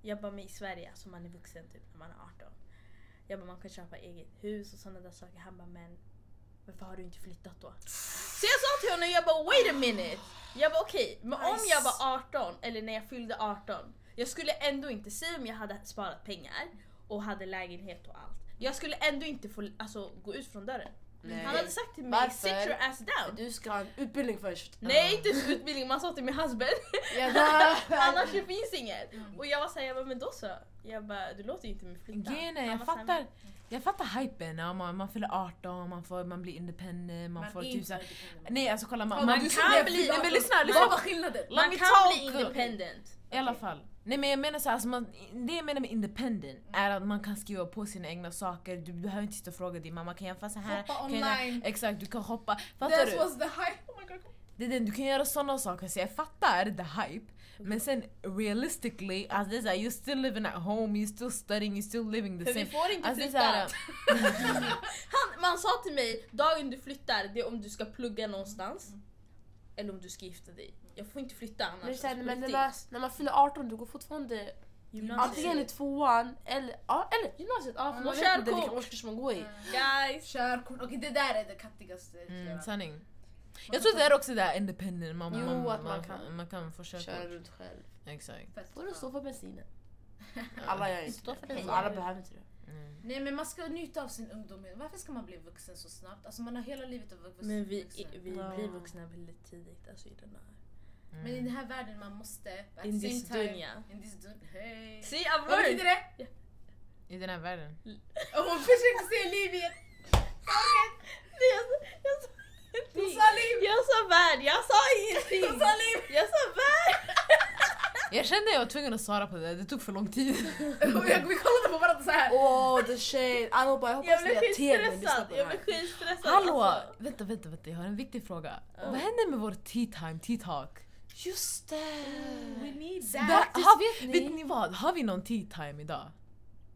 [SPEAKER 2] jag bara men i Sverige, alltså man är vuxen typ när man är 18. Jag bara man kan köpa eget hus och sådana där saker. Han bara men varför har du inte flyttat då? Så jag sa till honom, jag bara wait a minute. Jag bara okej, men om
[SPEAKER 1] Nice.
[SPEAKER 2] jag var 18 eller när jag fyllde 18. Jag skulle ändå inte, säga om jag hade sparat pengar och hade lägenhet och allt. Jag skulle ändå inte få alltså, gå ut från dörren.
[SPEAKER 3] Nej.
[SPEAKER 2] Han hade sagt till mig
[SPEAKER 3] Varför?
[SPEAKER 2] sit your ass down.
[SPEAKER 3] Du ska ha en utbildning först.
[SPEAKER 2] Nej inte ens utbildning, man sa till min husband.
[SPEAKER 3] Ja, där.
[SPEAKER 2] Annars det finns inget. Och jag var såhär, jag bara, men då så. Jag bara, du låter ju inte mig flytta.
[SPEAKER 4] “grejen är,
[SPEAKER 2] Han
[SPEAKER 4] jag
[SPEAKER 2] var såhär,
[SPEAKER 4] fattar, jag fattar hypen. Ja, man, man fyller 18, man, får, man blir independent, man,
[SPEAKER 1] Man
[SPEAKER 4] får
[SPEAKER 1] är
[SPEAKER 4] typ
[SPEAKER 1] inte
[SPEAKER 4] såhär...
[SPEAKER 1] independent.
[SPEAKER 4] Nej alltså kolla, man,
[SPEAKER 1] Ja,
[SPEAKER 4] man
[SPEAKER 1] men du
[SPEAKER 4] kan
[SPEAKER 2] säger
[SPEAKER 4] bli...
[SPEAKER 2] fylla
[SPEAKER 4] Nej, men lyssna,
[SPEAKER 1] Vad
[SPEAKER 4] lyssna!
[SPEAKER 1] var skillnaden?
[SPEAKER 2] Man
[SPEAKER 4] me
[SPEAKER 2] kan bli
[SPEAKER 4] talk.
[SPEAKER 2] independent.
[SPEAKER 4] I alla fall. Nej men jag menar såhär, alltså man, det jag menar med independent är att man kan skriva på sina egna saker, du behöver inte sitta och fråga din mamma kan jag fasta här?
[SPEAKER 1] Hoppa
[SPEAKER 4] kan jag,
[SPEAKER 1] online.
[SPEAKER 4] exakt, du kan hoppa. Fattar
[SPEAKER 1] That
[SPEAKER 4] du?
[SPEAKER 1] was the high. Oh my god.
[SPEAKER 4] Det är den, du kan göra sådana saker, så jag fattar the hype. Men sen realistically, alltså det är såhär, you're still living at home, you're still studying, you're still living the
[SPEAKER 2] För
[SPEAKER 4] same.
[SPEAKER 2] vi får inte
[SPEAKER 4] Alltså det är
[SPEAKER 2] flytta.
[SPEAKER 4] såhär,
[SPEAKER 2] Han, man sa till mig, dagen du flyttar det är om du ska plugga någonstans. Eller om du ska gifta dig. Jag får inte flytta annars. alltså,
[SPEAKER 3] Men det är så här,
[SPEAKER 2] På
[SPEAKER 3] men när,
[SPEAKER 2] riktigt.
[SPEAKER 3] man, när man fyller 18 du går fortfarande antingen i tvåan eller, ja, eller gymnasiet. Ja, för man vet inte
[SPEAKER 2] körkort.
[SPEAKER 3] vilken årskurs man går i.
[SPEAKER 2] Guys.
[SPEAKER 1] Körkort, okej det där är det kattigaste.
[SPEAKER 4] mm, sanning. Jag tror det är också det här independent, man,
[SPEAKER 3] Jo,
[SPEAKER 4] man,
[SPEAKER 3] att man
[SPEAKER 4] man,
[SPEAKER 3] kan
[SPEAKER 4] man kan få
[SPEAKER 3] Köra
[SPEAKER 4] körkort.
[SPEAKER 3] runt själv.
[SPEAKER 4] Exakt.
[SPEAKER 3] Får du stå för bensinen? Alla gör inte
[SPEAKER 2] Stå för
[SPEAKER 3] det. Alltså,
[SPEAKER 2] bensinen.
[SPEAKER 3] Alla behöver inte det.
[SPEAKER 4] Mm.
[SPEAKER 1] Nej men man ska njuta av sin ungdom. Varför ska man bli vuxen så snabbt? Alltså man har hela livet att vara vuxen.
[SPEAKER 2] Men vi,
[SPEAKER 1] vuxen.
[SPEAKER 2] vi
[SPEAKER 3] Ja.
[SPEAKER 2] blir vuxna väldigt tidigt. Alltså i den här.
[SPEAKER 1] Men i den här världen man måste. but at
[SPEAKER 2] In
[SPEAKER 1] the
[SPEAKER 2] this
[SPEAKER 1] same time-
[SPEAKER 2] dunja.
[SPEAKER 1] In this dun... Hej.
[SPEAKER 2] See I've
[SPEAKER 1] Vad betyder
[SPEAKER 2] learned!
[SPEAKER 1] det?
[SPEAKER 4] I den här världen.
[SPEAKER 1] Och hon försökte säga Libyen.
[SPEAKER 2] Nej, jag sa- jag sa
[SPEAKER 1] Hon sa Libyen.
[SPEAKER 2] ingenting. Jag sa värld, jag sa ingenting! Jag sa värld!
[SPEAKER 4] Jag kände jag var tvungen att svara på det, det tog för lång tid.
[SPEAKER 1] Och jag, vi kollade på varandra så här.
[SPEAKER 3] Åh, the shade! Allihopa, jag
[SPEAKER 2] Jag
[SPEAKER 3] hoppas ni
[SPEAKER 2] blev
[SPEAKER 3] har tv och lyssnar
[SPEAKER 2] skitstressad,
[SPEAKER 3] på det
[SPEAKER 2] jag blev
[SPEAKER 3] här.
[SPEAKER 2] skitstressad
[SPEAKER 4] Hallå!
[SPEAKER 2] alltså.
[SPEAKER 4] Vänta, vänta, vänta, jag har en viktig fråga. Vad händer med vår tea time, tea talk?
[SPEAKER 3] Just det!
[SPEAKER 1] We need
[SPEAKER 4] Där-
[SPEAKER 1] that.
[SPEAKER 4] har,
[SPEAKER 3] vet ni-
[SPEAKER 4] vet ni vad? Har vi någon tea time idag?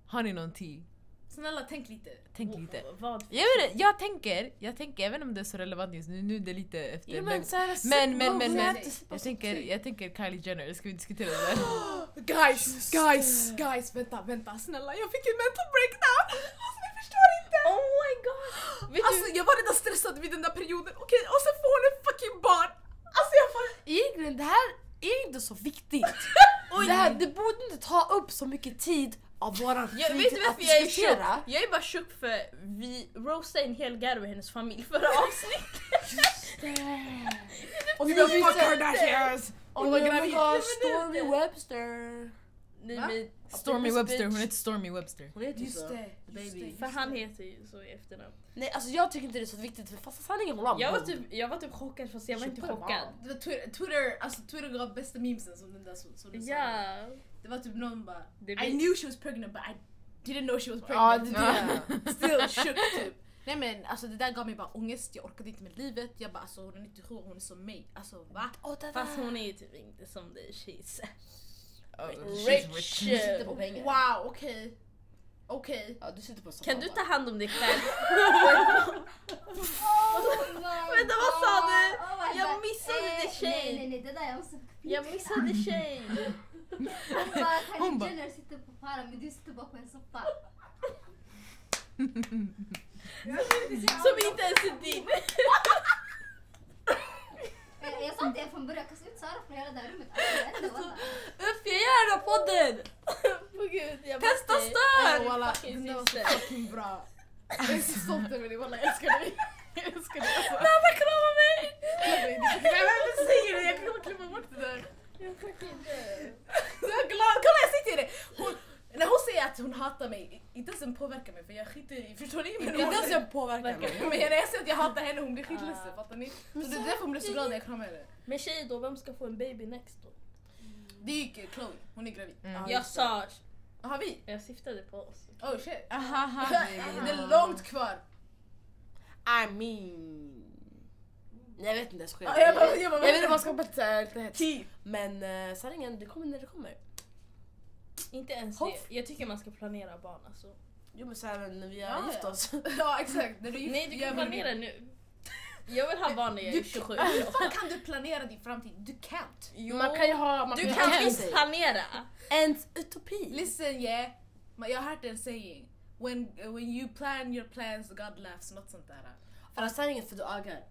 [SPEAKER 4] Har ni någon tea?
[SPEAKER 1] Snälla tänk lite.
[SPEAKER 4] Tänk lite.
[SPEAKER 2] Vad?
[SPEAKER 4] Jag, vet, inte, jag tänker, jag tänker, även om det är så relevant just nu, nu är det lite efter.
[SPEAKER 3] Jo,
[SPEAKER 4] men,
[SPEAKER 3] men, så här,
[SPEAKER 4] men, men, men,
[SPEAKER 1] low
[SPEAKER 4] men,
[SPEAKER 1] rent.
[SPEAKER 4] jag, tänker, jag tänker Kylie Jenner, ska vi diskutera det där?
[SPEAKER 1] Guys, guys, guys, vänta, vänta, snälla jag fick en mental breakdown! Alltså ni förstår inte!
[SPEAKER 2] Oh my god! Vet
[SPEAKER 1] Alltså jag var redan stressad vid den där perioden, okej och sen får hon en fucking barn! Alltså jag får...
[SPEAKER 3] Egentligen, det här är inte så viktigt. det, här, det borde inte ta upp så mycket tid av våran
[SPEAKER 2] du, jag,
[SPEAKER 3] fritid
[SPEAKER 2] vet du
[SPEAKER 3] att
[SPEAKER 2] varför jag är
[SPEAKER 3] diskutera.
[SPEAKER 2] tjock? Jag är bara tjock för vi roastade en hel Garo och hennes familj förra avsnittet.
[SPEAKER 3] Och
[SPEAKER 1] You fuck Kardashians!
[SPEAKER 3] Oh my god, Stormy Webster!
[SPEAKER 2] Nej
[SPEAKER 1] Va? typ
[SPEAKER 2] men
[SPEAKER 4] Stormy
[SPEAKER 3] this
[SPEAKER 4] Webster,
[SPEAKER 3] bitch.
[SPEAKER 4] hon heter Stormy Webster.
[SPEAKER 3] Hon heter ju så.
[SPEAKER 2] För han heter ju så i efternamn.
[SPEAKER 3] Nej alltså jag tycker inte det är så viktigt för fasta sanningen hon har
[SPEAKER 2] Jag var
[SPEAKER 3] blod.
[SPEAKER 2] typ, jag var typ chockad fast jag var inte
[SPEAKER 3] Super
[SPEAKER 2] chockad.
[SPEAKER 1] Det var Twitter, Twitter, alltså Twitter gav bästa memesen som den där som, som du sa.
[SPEAKER 2] Ja.
[SPEAKER 1] Det var typ någon bara
[SPEAKER 2] Det
[SPEAKER 1] I
[SPEAKER 2] blir,
[SPEAKER 1] knew she was pregnant but I didn't know she was
[SPEAKER 3] Ja
[SPEAKER 1] pregnant.
[SPEAKER 3] det är det.
[SPEAKER 1] Still shook typ. Nej men alltså det där gav mig bara ångest, jag orkade inte med livet. Jag bara alltså hon är 97 och hon är som mig. Alltså va?
[SPEAKER 3] Åh, det
[SPEAKER 2] fast
[SPEAKER 3] där.
[SPEAKER 2] hon är ju typ inte som dig, she's
[SPEAKER 4] Oh, she's
[SPEAKER 2] rich.
[SPEAKER 4] rich.
[SPEAKER 3] sitter på pengar.
[SPEAKER 1] Typ, Wow okej. Okej.
[SPEAKER 3] Ja du sitter på soffan
[SPEAKER 2] Kan du ta
[SPEAKER 3] bara.
[SPEAKER 2] hand om dig själv?
[SPEAKER 1] Vänta
[SPEAKER 2] vad sa du?
[SPEAKER 6] Oh my
[SPEAKER 2] Jag
[SPEAKER 6] God.
[SPEAKER 2] missade
[SPEAKER 6] Eh,
[SPEAKER 2] det, tjej.
[SPEAKER 6] Nej nej nej det där jag måste
[SPEAKER 2] Jag missade tjej!
[SPEAKER 6] Hon bara
[SPEAKER 4] Hon
[SPEAKER 6] Kylie
[SPEAKER 4] bara-
[SPEAKER 6] Jenner sitter på paren men du sitter bara på en soffa.
[SPEAKER 2] Som inte ens är din!
[SPEAKER 6] Eh, Jag sa till er från början, kasta ut Sara från hela det här rummet. Alltså, jag vet inte, wallah.
[SPEAKER 7] Uff, jag gör den här podden!
[SPEAKER 2] Åh gud, jag
[SPEAKER 7] Kasta
[SPEAKER 2] måste-
[SPEAKER 7] stör!
[SPEAKER 2] Åh, walla,
[SPEAKER 1] Den
[SPEAKER 2] din
[SPEAKER 1] där var
[SPEAKER 2] syster.
[SPEAKER 1] så fucking bra. Jag är så stolt över dig walla, jag älskar dig. Jag älskar dig alltså.
[SPEAKER 7] Mamma krama mig!
[SPEAKER 1] Nej men säger det, jag kommer klippa bort det där.
[SPEAKER 2] Jag fucking dör.
[SPEAKER 1] Så jag är glad, kolla jag säger till dig! Hon, när hon säger att hon hatar mig, inte ens den påverkar mig för jag skiter i, förstår ni? Men,
[SPEAKER 3] Det är
[SPEAKER 1] hon,
[SPEAKER 3] den som påverkar mig.
[SPEAKER 1] men när jag säger att jag hatar henne hon blir skitledsen,
[SPEAKER 2] Ah.
[SPEAKER 1] fattar ni? Så det är därför hon blir så glad när jag kramar henne.
[SPEAKER 2] Men tjej då, vem ska få en baby next då?
[SPEAKER 1] Det gick ju Chloe, hon är gravid.
[SPEAKER 4] Mm.
[SPEAKER 1] Ja,
[SPEAKER 2] Jag
[SPEAKER 1] just det.
[SPEAKER 2] sa, Ah,
[SPEAKER 1] Har vi?
[SPEAKER 2] jag syftade på oss.
[SPEAKER 1] Oh shit.
[SPEAKER 4] Ahaha,
[SPEAKER 1] Det
[SPEAKER 4] baby.
[SPEAKER 1] är långt kvar.
[SPEAKER 3] I mean... Nej jag vet inte, jag skojar.
[SPEAKER 1] Ja, jag bara- jag bara-
[SPEAKER 3] jag vet inte vad jag ska säga lite hets.
[SPEAKER 1] Tid.
[SPEAKER 3] Men eh, sanningen, det kommer när det kommer.
[SPEAKER 2] Inte ens det.
[SPEAKER 3] Hoff.
[SPEAKER 2] Jag tycker man ska planera barn alltså.
[SPEAKER 3] Jo men såhär när vi har
[SPEAKER 1] Ja,
[SPEAKER 3] gift
[SPEAKER 1] ja.
[SPEAKER 3] oss.
[SPEAKER 1] Ja exakt, när du är gift-
[SPEAKER 2] Nej du
[SPEAKER 1] gör
[SPEAKER 2] kan
[SPEAKER 1] vad
[SPEAKER 2] planera
[SPEAKER 1] vill.
[SPEAKER 2] nu. Jag vill ha barn när jag är
[SPEAKER 1] Du-
[SPEAKER 2] 27.
[SPEAKER 1] Hur fan kan du planera din framtid? Du can't.
[SPEAKER 3] Man kan ju ha... Man
[SPEAKER 2] Du
[SPEAKER 3] ju
[SPEAKER 2] kan
[SPEAKER 3] ha en-
[SPEAKER 2] visst planera!
[SPEAKER 3] Ens utopi.
[SPEAKER 1] Listen yeah, Men jag har hört en saying. When, when you plan your plans God laughs, något sånt där.
[SPEAKER 3] För att sanningen för du ögar.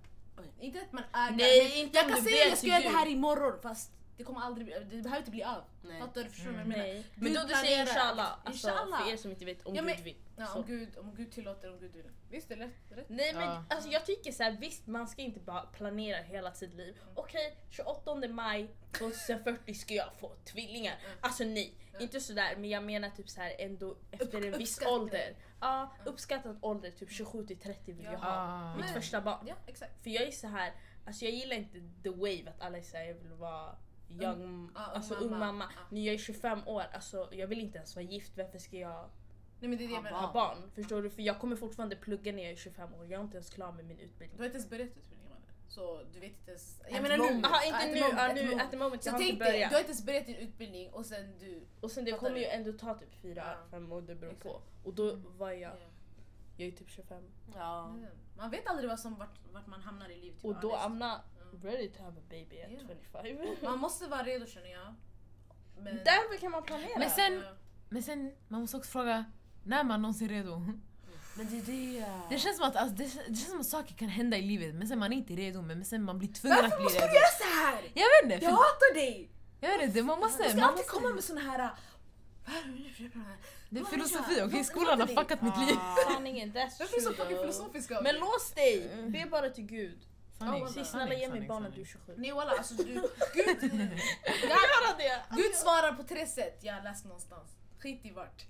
[SPEAKER 1] Inte att man ögar,
[SPEAKER 2] Nej,
[SPEAKER 1] men
[SPEAKER 2] inte
[SPEAKER 1] jag
[SPEAKER 2] om
[SPEAKER 1] kan
[SPEAKER 2] du
[SPEAKER 1] säga att
[SPEAKER 2] ber
[SPEAKER 1] jag ska
[SPEAKER 2] till
[SPEAKER 1] göra det
[SPEAKER 2] Gud.
[SPEAKER 1] här imorgon fast det kommer aldrig bli, det behöver inte bli av.
[SPEAKER 3] Nej.
[SPEAKER 1] Fattar du? Förstår du vad jag menar?
[SPEAKER 2] Mm. Nej. Men
[SPEAKER 1] Du
[SPEAKER 2] då du säger
[SPEAKER 1] planerar.
[SPEAKER 2] inshallah. Alltså,
[SPEAKER 1] Inshallah.
[SPEAKER 2] För er som inte vet, om
[SPEAKER 1] Ja, men-
[SPEAKER 2] Gud vill.
[SPEAKER 1] Ja,
[SPEAKER 2] Så.
[SPEAKER 1] om, Gud, om Gud tillåter, om Gud vill. Visst är det rätt? rätt?
[SPEAKER 2] Nej men
[SPEAKER 4] Ja.
[SPEAKER 2] alltså, jag tycker så här, visst man ska inte bara planera hela sitt liv.
[SPEAKER 1] Mm.
[SPEAKER 2] Okej, 28 maj 2040 ska jag få tvillingar.
[SPEAKER 1] Mm.
[SPEAKER 2] Alltså nej, inte sådär men jag menar typ så här ändå efter en viss
[SPEAKER 1] uppskattning.
[SPEAKER 2] ålder. Ja, uppskattad ålder, typ 27 till 30 vill jag
[SPEAKER 1] Mm. Ja.
[SPEAKER 2] ha
[SPEAKER 4] Ah.
[SPEAKER 2] mitt
[SPEAKER 1] Men-
[SPEAKER 2] första barn.
[SPEAKER 1] Ja, exakt.
[SPEAKER 2] För jag är så här, alltså jag gillar inte the wave att alla säger jag vill vara young,
[SPEAKER 1] ja, Um, ung
[SPEAKER 2] alltså ung
[SPEAKER 1] Ah, mamma. Ah.
[SPEAKER 2] mamma.
[SPEAKER 1] Ja.
[SPEAKER 2] När jag är 25 år, alltså jag vill inte ens vara gift, varför ska jag
[SPEAKER 1] Nej men det är det jag
[SPEAKER 3] Ja,
[SPEAKER 1] menar. Ah,
[SPEAKER 3] bara.
[SPEAKER 2] ha Ah, barn? Förstår du? För jag kommer fortfarande plugga när jag är 25 år, jag är inte ens klar med min utbildning.
[SPEAKER 1] Du har inte ens börjat utbildningen mannen. Så du vet inte ens.
[SPEAKER 3] At
[SPEAKER 1] Jag menar nu.
[SPEAKER 3] moment.
[SPEAKER 2] Jaha
[SPEAKER 1] Ja,
[SPEAKER 2] inte
[SPEAKER 1] at
[SPEAKER 2] nu,
[SPEAKER 1] moment,
[SPEAKER 2] ja
[SPEAKER 1] at
[SPEAKER 2] nu,
[SPEAKER 1] moment.
[SPEAKER 2] at the Ah, moment,
[SPEAKER 1] Så
[SPEAKER 2] jag har inte
[SPEAKER 1] tänk dig,
[SPEAKER 2] börjat.
[SPEAKER 1] du har inte ens börjat din utbildning och sen du...
[SPEAKER 2] Och sen det
[SPEAKER 1] fattar
[SPEAKER 2] kommer
[SPEAKER 1] du?
[SPEAKER 2] ju ändå ta typ fyra,
[SPEAKER 1] Ja.
[SPEAKER 2] fem år, det beror på.
[SPEAKER 1] Exakt. Mm.
[SPEAKER 2] Och då var jag,
[SPEAKER 1] Ja.
[SPEAKER 2] jag är typ 25.
[SPEAKER 3] Ja.
[SPEAKER 1] Mm. Man vet aldrig vad som, vart, vart man hamnar i livet. typ.
[SPEAKER 2] Och då
[SPEAKER 1] honest.
[SPEAKER 2] I'm not
[SPEAKER 1] Mm.
[SPEAKER 2] ready to have a baby at
[SPEAKER 1] Ja.
[SPEAKER 2] 25.
[SPEAKER 1] Mm. Man måste vara redo känner jag. Men...
[SPEAKER 2] Därför kan man planera.
[SPEAKER 4] Men sen-
[SPEAKER 1] Ja.
[SPEAKER 4] Men sen, man måste också fråga, när är man någonsin redo?
[SPEAKER 3] Men det är det.
[SPEAKER 4] Det känns som att, alltså, det, det känns som att saker kan hända i livet men sen man är inte redo men sen man blir tvungen
[SPEAKER 1] Varför
[SPEAKER 4] att bli
[SPEAKER 1] måste man
[SPEAKER 4] redo.
[SPEAKER 1] göra så här?
[SPEAKER 4] Jag vet inte,
[SPEAKER 1] Jag
[SPEAKER 4] för,
[SPEAKER 1] hatar dig!
[SPEAKER 4] jag vet inte man
[SPEAKER 1] Du
[SPEAKER 4] måste...
[SPEAKER 1] ska
[SPEAKER 4] Man
[SPEAKER 1] alltid
[SPEAKER 4] måste
[SPEAKER 1] komma med såna här...
[SPEAKER 4] det är
[SPEAKER 1] Vad
[SPEAKER 4] filosofi,
[SPEAKER 1] gör
[SPEAKER 4] okej?
[SPEAKER 1] jag? Vad-
[SPEAKER 4] Skolan har
[SPEAKER 1] vad är det? Ah.
[SPEAKER 4] fuckat mitt liv.
[SPEAKER 2] Sanningen, that's
[SPEAKER 1] Varför är du så fucking
[SPEAKER 2] true though.
[SPEAKER 1] filosofisk av
[SPEAKER 2] Men
[SPEAKER 1] dig?
[SPEAKER 2] lås dig! Be bara till gud.
[SPEAKER 1] Mm. Ja,
[SPEAKER 2] Säg
[SPEAKER 1] sanning,
[SPEAKER 2] snälla ge mig barnet du är 27.
[SPEAKER 1] Nej walla alltså du... Gud,
[SPEAKER 2] Göra det!
[SPEAKER 1] Gud svarar på tre sätt, jag har läst någonstans. Skit i vart.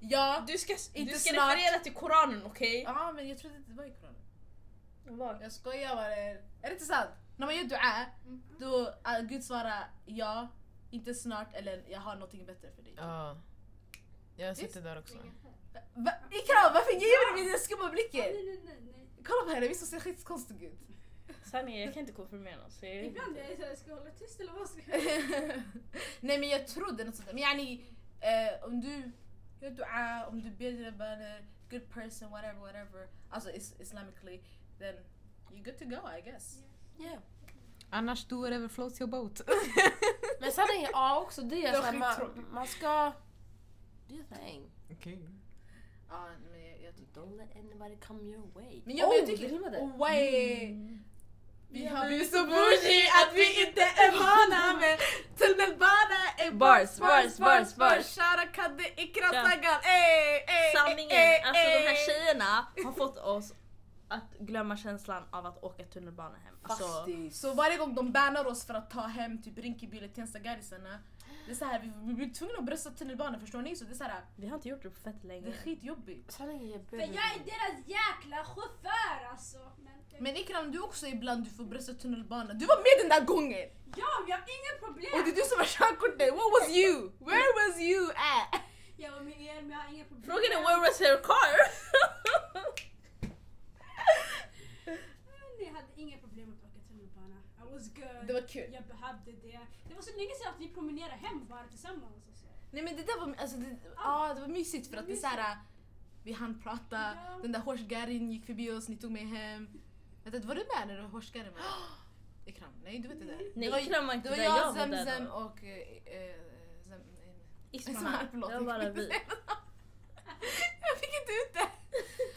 [SPEAKER 1] Ja,
[SPEAKER 2] Du ska,
[SPEAKER 1] Inte
[SPEAKER 2] du ska
[SPEAKER 1] snart.
[SPEAKER 2] referera till koranen okej?
[SPEAKER 1] ja men jag trodde inte det var i Koranen.
[SPEAKER 2] Var?
[SPEAKER 1] Jag skojar bara. Är det inte sant? När man gör dua, då äh, Gud svarar ja, inte snart eller jag har någonting bättre för dig.
[SPEAKER 4] Ja. Jag
[SPEAKER 1] Visst?
[SPEAKER 4] sitter där också.
[SPEAKER 1] Va? Ikram, varför ger du mig den skumma blicken?
[SPEAKER 6] Nej nej nej nej.
[SPEAKER 1] Kolla på henne, visst hon ser skitkonstig ut?
[SPEAKER 2] Sanningen, jag kan inte konfirmera något. Så jag...
[SPEAKER 6] Ibland är jag såhär, ska jag hålla tyst eller vad ska jag göra?
[SPEAKER 1] Nej men jag trodde något sånt där. Men yani, eh, om du gör dua, om du ber dina böner, good person, whatever, whatever. Alltså is islamically, then you're good to go I guess.
[SPEAKER 3] Yeah.
[SPEAKER 4] Annars do whatever floats your boat.
[SPEAKER 3] Men sanningen, ja också det.
[SPEAKER 1] är
[SPEAKER 3] Är så här,
[SPEAKER 1] skittråkigt.
[SPEAKER 3] man, man ska... Do your thing.
[SPEAKER 4] Okej.
[SPEAKER 1] Ja, men jag, jag tycker...
[SPEAKER 3] Don't let anybody come your way.
[SPEAKER 1] Men jag, men jag
[SPEAKER 3] Oh, det
[SPEAKER 1] tycker...
[SPEAKER 3] rimmade.
[SPEAKER 1] Oh, way. Vi har blivit så bougie att vi inte är vana med tunnelbana är
[SPEAKER 2] Bars, bars, bars, bars.
[SPEAKER 1] Shara Kadde Ikra
[SPEAKER 2] Ja.
[SPEAKER 1] Sagan, ey, ey,
[SPEAKER 2] Sanningen,
[SPEAKER 1] Eh,
[SPEAKER 2] alltså de här tjejerna har fått oss att glömma känslan av att åka tunnelbana hem. Alltså,
[SPEAKER 3] Faktiskt.
[SPEAKER 1] Så varje gång de bannar oss för att ta hem typ Rinkeby eller Tensta-garisarna Det är så här, vi, vi blir tvungna att brösta tunnelbanan förstår ni? Så det är så här,
[SPEAKER 2] Vi har inte gjort det på fett länge.
[SPEAKER 1] det är skitjobbigt.
[SPEAKER 3] Så länge jag
[SPEAKER 5] För jag är deras jäkla chaufför alltså. Men,
[SPEAKER 1] Men Ikram du också ibland du får brösta tunnelbanan. Du var med den där gången!
[SPEAKER 5] ja, jag har inga
[SPEAKER 1] Och det är
[SPEAKER 5] problem.
[SPEAKER 1] du som har körkortet, what was you? Where was you at?
[SPEAKER 5] Jag var med er men jag har inga problem.
[SPEAKER 2] Frågan är where was her car?
[SPEAKER 5] Ni hade inga problem att åka tunnelbana. I was good.
[SPEAKER 1] Det var kul.
[SPEAKER 5] Jag behövde det. Det var så länge sedan att vi promenerade hem bara tillsammans. Och så.
[SPEAKER 1] Nej men det där var, alltså, det, ja, det var mysigt för att det är såhär, vi hann prata,
[SPEAKER 5] Ja.
[SPEAKER 1] den där hårsgärin gick förbi oss, ni tog mig hem. Vänta, var du med när hårsgärin var där? Ikram? Nej du vet inte det.
[SPEAKER 2] Nej,
[SPEAKER 1] det var,
[SPEAKER 2] Ikram var inte
[SPEAKER 1] det var
[SPEAKER 2] där,
[SPEAKER 1] jag,
[SPEAKER 2] jag var där
[SPEAKER 1] Zemzem
[SPEAKER 2] då.
[SPEAKER 1] och... eh, eh, Zem, eh,
[SPEAKER 2] Ismahan.
[SPEAKER 1] förlåt,
[SPEAKER 2] Det var bara vi.
[SPEAKER 1] jag fick inte ut det!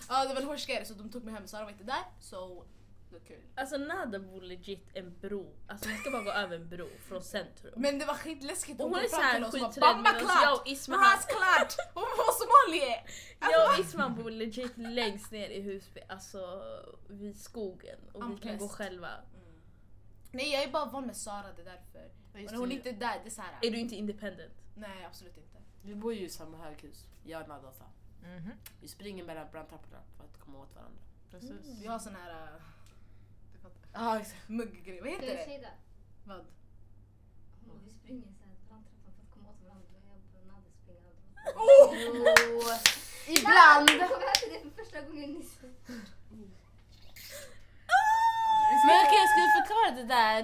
[SPEAKER 1] ja det var en hårsgärare så de tog mig hem, Sara var inte där så det var kul.
[SPEAKER 2] Alltså Nada bor legit en bro. Alltså hon ska bara gå över en bro från centrum.
[SPEAKER 1] Men det var skitläskigt,
[SPEAKER 2] Och hon är
[SPEAKER 1] kom fram till
[SPEAKER 2] såhär
[SPEAKER 1] oss och bara
[SPEAKER 2] skiträdd
[SPEAKER 1] “Bamba
[SPEAKER 2] medan jag
[SPEAKER 1] klart!
[SPEAKER 2] och Ismahan
[SPEAKER 1] Mahas klart! Hon var somalier!”
[SPEAKER 2] Jag och Isman bor legit längst ner i Husby, alltså vid skogen och vi
[SPEAKER 1] Amt
[SPEAKER 2] kan gå
[SPEAKER 1] väst.
[SPEAKER 2] själva.
[SPEAKER 1] Nej jag är bara van med Sara, det är därför. Och när hon inte är där, det är såhär...
[SPEAKER 2] Är du inte independent?
[SPEAKER 1] Nej absolut inte.
[SPEAKER 3] Vi bor ju i samma höghus, jag och Nadata.
[SPEAKER 4] Mhm,
[SPEAKER 3] Vi springer mellan brandtrapporna för att komma åt varandra.
[SPEAKER 4] precis.
[SPEAKER 3] Mm.
[SPEAKER 1] Vi har sån här... äh,
[SPEAKER 3] Ja, exakt.
[SPEAKER 1] Mugggrej, vad heter det?
[SPEAKER 5] Shada.
[SPEAKER 1] Vad?
[SPEAKER 5] Vi springer såhär brandtrappan för att komma åt varandra. Jag och Nadde springer aldrig.
[SPEAKER 3] Ibland!
[SPEAKER 5] Jag kommer ihåg det för första gången nyss.
[SPEAKER 3] Men okej, ska vi förklara det där?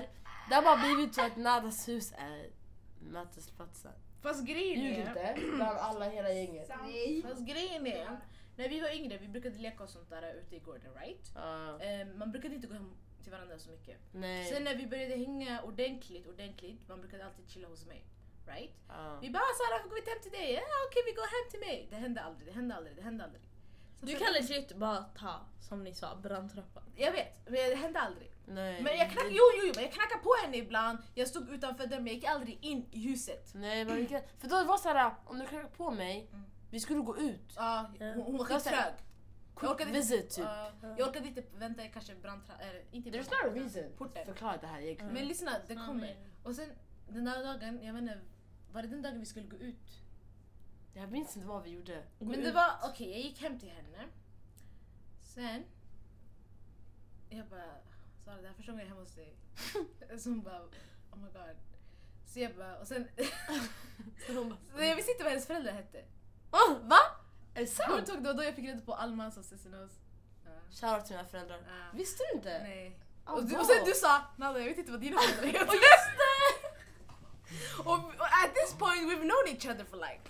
[SPEAKER 3] Det har bara blivit så att Nadas hus är mötesplatsen.
[SPEAKER 1] Fast grejen
[SPEAKER 3] Ljug
[SPEAKER 1] är...
[SPEAKER 3] inte, bland alla hela gänget.
[SPEAKER 5] Nej.
[SPEAKER 1] Fast grejen är... När vi var yngre, vi brukade leka och sånt där ute i gården, right?
[SPEAKER 3] Ja,
[SPEAKER 1] Eh, man brukade inte gå hem till varandra så mycket. Sen
[SPEAKER 3] nej.
[SPEAKER 1] när vi började hänga ordentligt, ordentligt, man brukade alltid chilla hos mig. Right?
[SPEAKER 3] ja.
[SPEAKER 1] Vi bara “Sara, går vi inte hem till dig?” “Ja ah, okej, vi går hem till mig”. Det hände aldrig, det hände aldrig, det hände aldrig. Sen
[SPEAKER 2] Du
[SPEAKER 1] så-
[SPEAKER 2] kan legit bara ta, som ni sa, brandtrappan.
[SPEAKER 1] Jag vet, men det hände aldrig.
[SPEAKER 3] Nej.
[SPEAKER 1] Men jag knackade, jo, jo, jo, men jag knackade på henne ibland. Jag stod utanför dörren, men jag gick aldrig in i huset.
[SPEAKER 3] Nej, men vi kan... För då var det såhär, om du knackade på mig,
[SPEAKER 1] Mm.
[SPEAKER 3] vi skulle gå ut.
[SPEAKER 1] Ja, Ah, hon, hon var
[SPEAKER 3] Jag sa-
[SPEAKER 1] skittrög. Jag orkade inte-
[SPEAKER 3] Visit typ.
[SPEAKER 1] Ja, jag orkade inte vänta kanske brandtra... Eller, inte
[SPEAKER 3] There's
[SPEAKER 1] brandtra-
[SPEAKER 3] no reason. Mm.
[SPEAKER 1] Porten.
[SPEAKER 3] Förklara det här egentligen.
[SPEAKER 1] Men lyssna, det kommer. Och sen den där dagen, jag menar, var det den dagen vi skulle gå ut?
[SPEAKER 3] Jag minns inte vad vi gjorde.
[SPEAKER 1] Men det var, okej jag gick hem till henne. Sen, jag bara, Sara det här är första gången jag är hemma hos dig. Så hon bara, oh my god. Så jag bara, och sen,
[SPEAKER 3] Så de bara,
[SPEAKER 1] så jag visste inte vad hennes föräldrar hette.
[SPEAKER 3] "Åh, Ah, va? Är det
[SPEAKER 1] Hon
[SPEAKER 3] sant?
[SPEAKER 1] tog det och då jag fick reda på Almas och Sessinos. Ja.
[SPEAKER 3] Shoutout till mina föräldrar.
[SPEAKER 1] Ja.
[SPEAKER 3] Visste du inte?
[SPEAKER 1] Nej.
[SPEAKER 3] Ah,
[SPEAKER 1] Och, du,
[SPEAKER 3] bra.
[SPEAKER 1] och sen du sa, Nada jag vet inte vad dina föräldrar heter. Och just det! och, och at this point we've known each other for like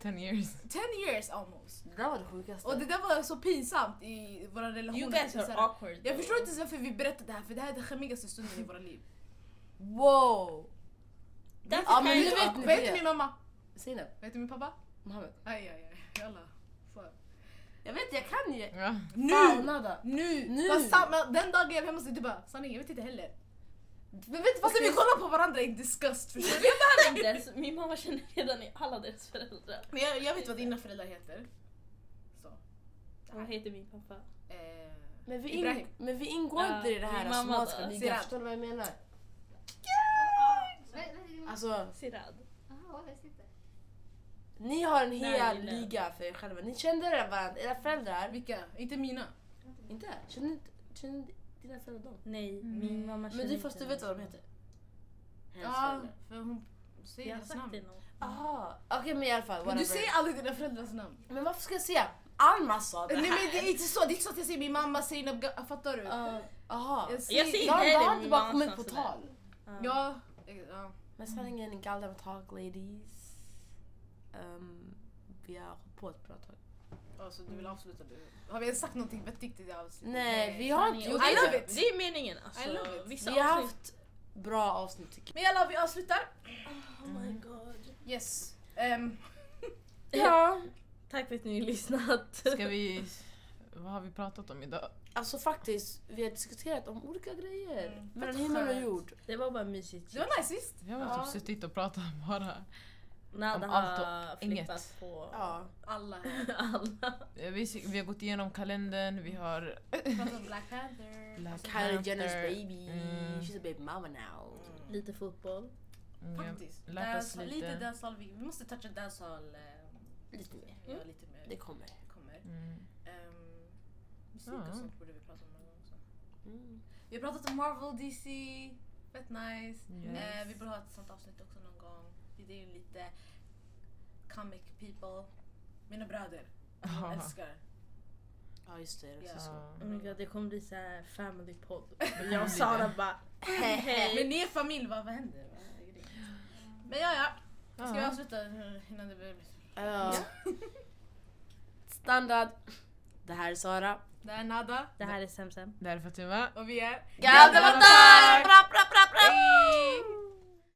[SPEAKER 4] Ten years.
[SPEAKER 1] 10 years almost.
[SPEAKER 3] Det där var det sjukaste.
[SPEAKER 1] Och det där var så pinsamt i våra relationer.
[SPEAKER 2] You guys
[SPEAKER 1] Det är
[SPEAKER 2] are
[SPEAKER 1] så här-
[SPEAKER 2] awkward.
[SPEAKER 1] Jag förstår inte ens varför vi berättar det här för det här är den skämmigaste stunden i våra liv.
[SPEAKER 3] Wow!
[SPEAKER 2] Därför
[SPEAKER 3] Ja,
[SPEAKER 2] kan
[SPEAKER 3] men
[SPEAKER 2] jag
[SPEAKER 3] nu
[SPEAKER 2] inte-
[SPEAKER 3] vet
[SPEAKER 1] Vad
[SPEAKER 3] ni
[SPEAKER 1] heter
[SPEAKER 3] det.
[SPEAKER 1] min mamma?
[SPEAKER 3] Zeynep,
[SPEAKER 1] Vad heter min pappa?
[SPEAKER 3] Mohammed.
[SPEAKER 1] Aj, aj, aj. Jalla. Fan.
[SPEAKER 3] Jag vet, jag kan ju.
[SPEAKER 4] Ja.
[SPEAKER 3] Fan,
[SPEAKER 1] Nu!
[SPEAKER 3] Nada.
[SPEAKER 1] Nu!
[SPEAKER 3] Nu!
[SPEAKER 1] Fast samma, den dagen jag var hemma hos dig du bara sanning jag vet inte heller. Men vet du, fast vi kollar på varandra i disgust förstår du?
[SPEAKER 2] inte ens- Min mamma känner redan alla deras föräldrar.
[SPEAKER 1] Men jag, jag vet vad dina föräldrar heter. Så. Ah.
[SPEAKER 2] Vad heter min pappa?
[SPEAKER 1] Eh,
[SPEAKER 3] Men vi,
[SPEAKER 1] Ibrahim.
[SPEAKER 3] ing- men vi ingår
[SPEAKER 2] Ja,
[SPEAKER 3] inte i det här alltså,
[SPEAKER 2] min mamma
[SPEAKER 3] somaliska
[SPEAKER 2] då.
[SPEAKER 3] ligan.
[SPEAKER 1] Sirab.
[SPEAKER 3] Förstår du vad jag menar?
[SPEAKER 5] Vad vad heter
[SPEAKER 3] Alltså,
[SPEAKER 2] Sirad.
[SPEAKER 5] Jaha, jag visste inte.
[SPEAKER 3] ni har en hel
[SPEAKER 2] Nej, nej.
[SPEAKER 3] liga för er själva. Ni kände redan varandra, era föräldrar.
[SPEAKER 1] Eh, vilka? Inte mina.
[SPEAKER 3] Inte? Kände inte kände inte dina föräldrar dem?
[SPEAKER 2] Nej, min mamma känner
[SPEAKER 3] Men du,
[SPEAKER 2] inte
[SPEAKER 3] fast du vet
[SPEAKER 2] någon.
[SPEAKER 3] vad de heter?
[SPEAKER 1] Ja,
[SPEAKER 3] Hennes föräldrar.
[SPEAKER 1] för hon säger
[SPEAKER 2] Jag har
[SPEAKER 1] deras
[SPEAKER 2] sagt det
[SPEAKER 1] namn.
[SPEAKER 2] någon.
[SPEAKER 3] Aha. Okej men i alla fall,
[SPEAKER 1] Men
[SPEAKER 3] whatever.
[SPEAKER 1] du säger aldrig dina föräldrars namn.
[SPEAKER 3] Men varför ska jag säga? Alma sa det
[SPEAKER 1] Nej
[SPEAKER 3] här.
[SPEAKER 1] men det är inte så, det är inte så att jag säger min mamma, Zainab, Ga- fattar du?
[SPEAKER 3] Ja, Aha.
[SPEAKER 1] Jag
[SPEAKER 2] Jag
[SPEAKER 1] säger...
[SPEAKER 2] ser
[SPEAKER 3] Jag, jag har
[SPEAKER 2] heller
[SPEAKER 3] inte
[SPEAKER 2] min
[SPEAKER 3] bara
[SPEAKER 2] mammas
[SPEAKER 3] kommit
[SPEAKER 2] namn
[SPEAKER 3] på
[SPEAKER 2] sådär.
[SPEAKER 3] tal.
[SPEAKER 1] Ja, eh, ja.
[SPEAKER 3] Men sanningen är galna talk ladies. Ehm, vi har hållit på ett bra tag.
[SPEAKER 1] Ja, så Alltså, du vill avsluta du? Har vi ens sagt någonting vettigt i det avsnittet?
[SPEAKER 3] Nej, vi har inte
[SPEAKER 2] Sanningen.
[SPEAKER 3] gjort
[SPEAKER 2] Och det är-
[SPEAKER 1] I love it.
[SPEAKER 2] Det är meningen alltså.
[SPEAKER 1] I love it.
[SPEAKER 2] Vissa
[SPEAKER 3] Vi har
[SPEAKER 2] avsnitt-
[SPEAKER 3] haft bra avsnitt tycker
[SPEAKER 1] Men jalla, vi avslutar.
[SPEAKER 2] Oh my god.
[SPEAKER 1] Yes. Ehm,
[SPEAKER 3] jag. Ja.
[SPEAKER 2] Tack för att ni har lyssnat.
[SPEAKER 4] Ska vi... Vad har vi pratat om idag?
[SPEAKER 3] Alltså faktiskt, vi har diskuterat om olika grejer.
[SPEAKER 1] Mm,
[SPEAKER 3] Mellan
[SPEAKER 1] fett
[SPEAKER 3] himmel och
[SPEAKER 1] skönt.
[SPEAKER 3] jord.
[SPEAKER 2] Det var bara mysigt.
[SPEAKER 1] det var nice visst?
[SPEAKER 4] Vi har
[SPEAKER 1] Ja.
[SPEAKER 4] typ suttit och pratat bara.
[SPEAKER 2] Nada
[SPEAKER 4] Om allt och
[SPEAKER 2] har
[SPEAKER 4] inget.
[SPEAKER 2] flippat på
[SPEAKER 3] Ja.
[SPEAKER 1] Alla
[SPEAKER 2] alla.
[SPEAKER 4] Eh, Vi, vi har gått igenom kalendern, vi har...
[SPEAKER 1] pratar om Black Panther.
[SPEAKER 4] Black
[SPEAKER 3] Kylie Jenners
[SPEAKER 4] Panther.
[SPEAKER 3] baby.
[SPEAKER 4] Mm.
[SPEAKER 3] She's a baby mama now.
[SPEAKER 2] Lite fotboll.
[SPEAKER 4] Mm,
[SPEAKER 1] Faktiskt.
[SPEAKER 4] jag lärt oss
[SPEAKER 1] Dancehall- lite
[SPEAKER 4] lite.
[SPEAKER 1] dancehall. Vi, vi måste toucha dancehall. eh,
[SPEAKER 3] Lite mer.
[SPEAKER 1] Ja, lite mer.
[SPEAKER 3] Det kommer.
[SPEAKER 1] kommer.
[SPEAKER 4] Mm.
[SPEAKER 1] Ehm, musik
[SPEAKER 4] Ja.
[SPEAKER 1] och sånt borde vi prata om någon gång också.
[SPEAKER 3] Mm.
[SPEAKER 1] Vi har pratat om Marvel, DC. Fett nice.
[SPEAKER 4] Yes.
[SPEAKER 1] Eh, vi borde ha ett sånt avsnitt också någon gång. Det är ju lite comic people. Mina bröder. Jag älskar.
[SPEAKER 3] Ja just det, det är också
[SPEAKER 1] Ja.
[SPEAKER 3] så.
[SPEAKER 4] Ja.
[SPEAKER 2] Oh my god, det kommer bli så här family podd. Jag och Sara bara hej.
[SPEAKER 1] Men ni är familj, vad, vad händer? Vad är grejen? Men ja, ja. Ska vi avsluta innan det blir...
[SPEAKER 3] Ja. Standard. Det här är Sara.
[SPEAKER 1] Det är Nada.
[SPEAKER 2] Det här är Semsem.
[SPEAKER 4] Det här är Fatima.
[SPEAKER 1] Och vi är...
[SPEAKER 3] Gabbe Matar!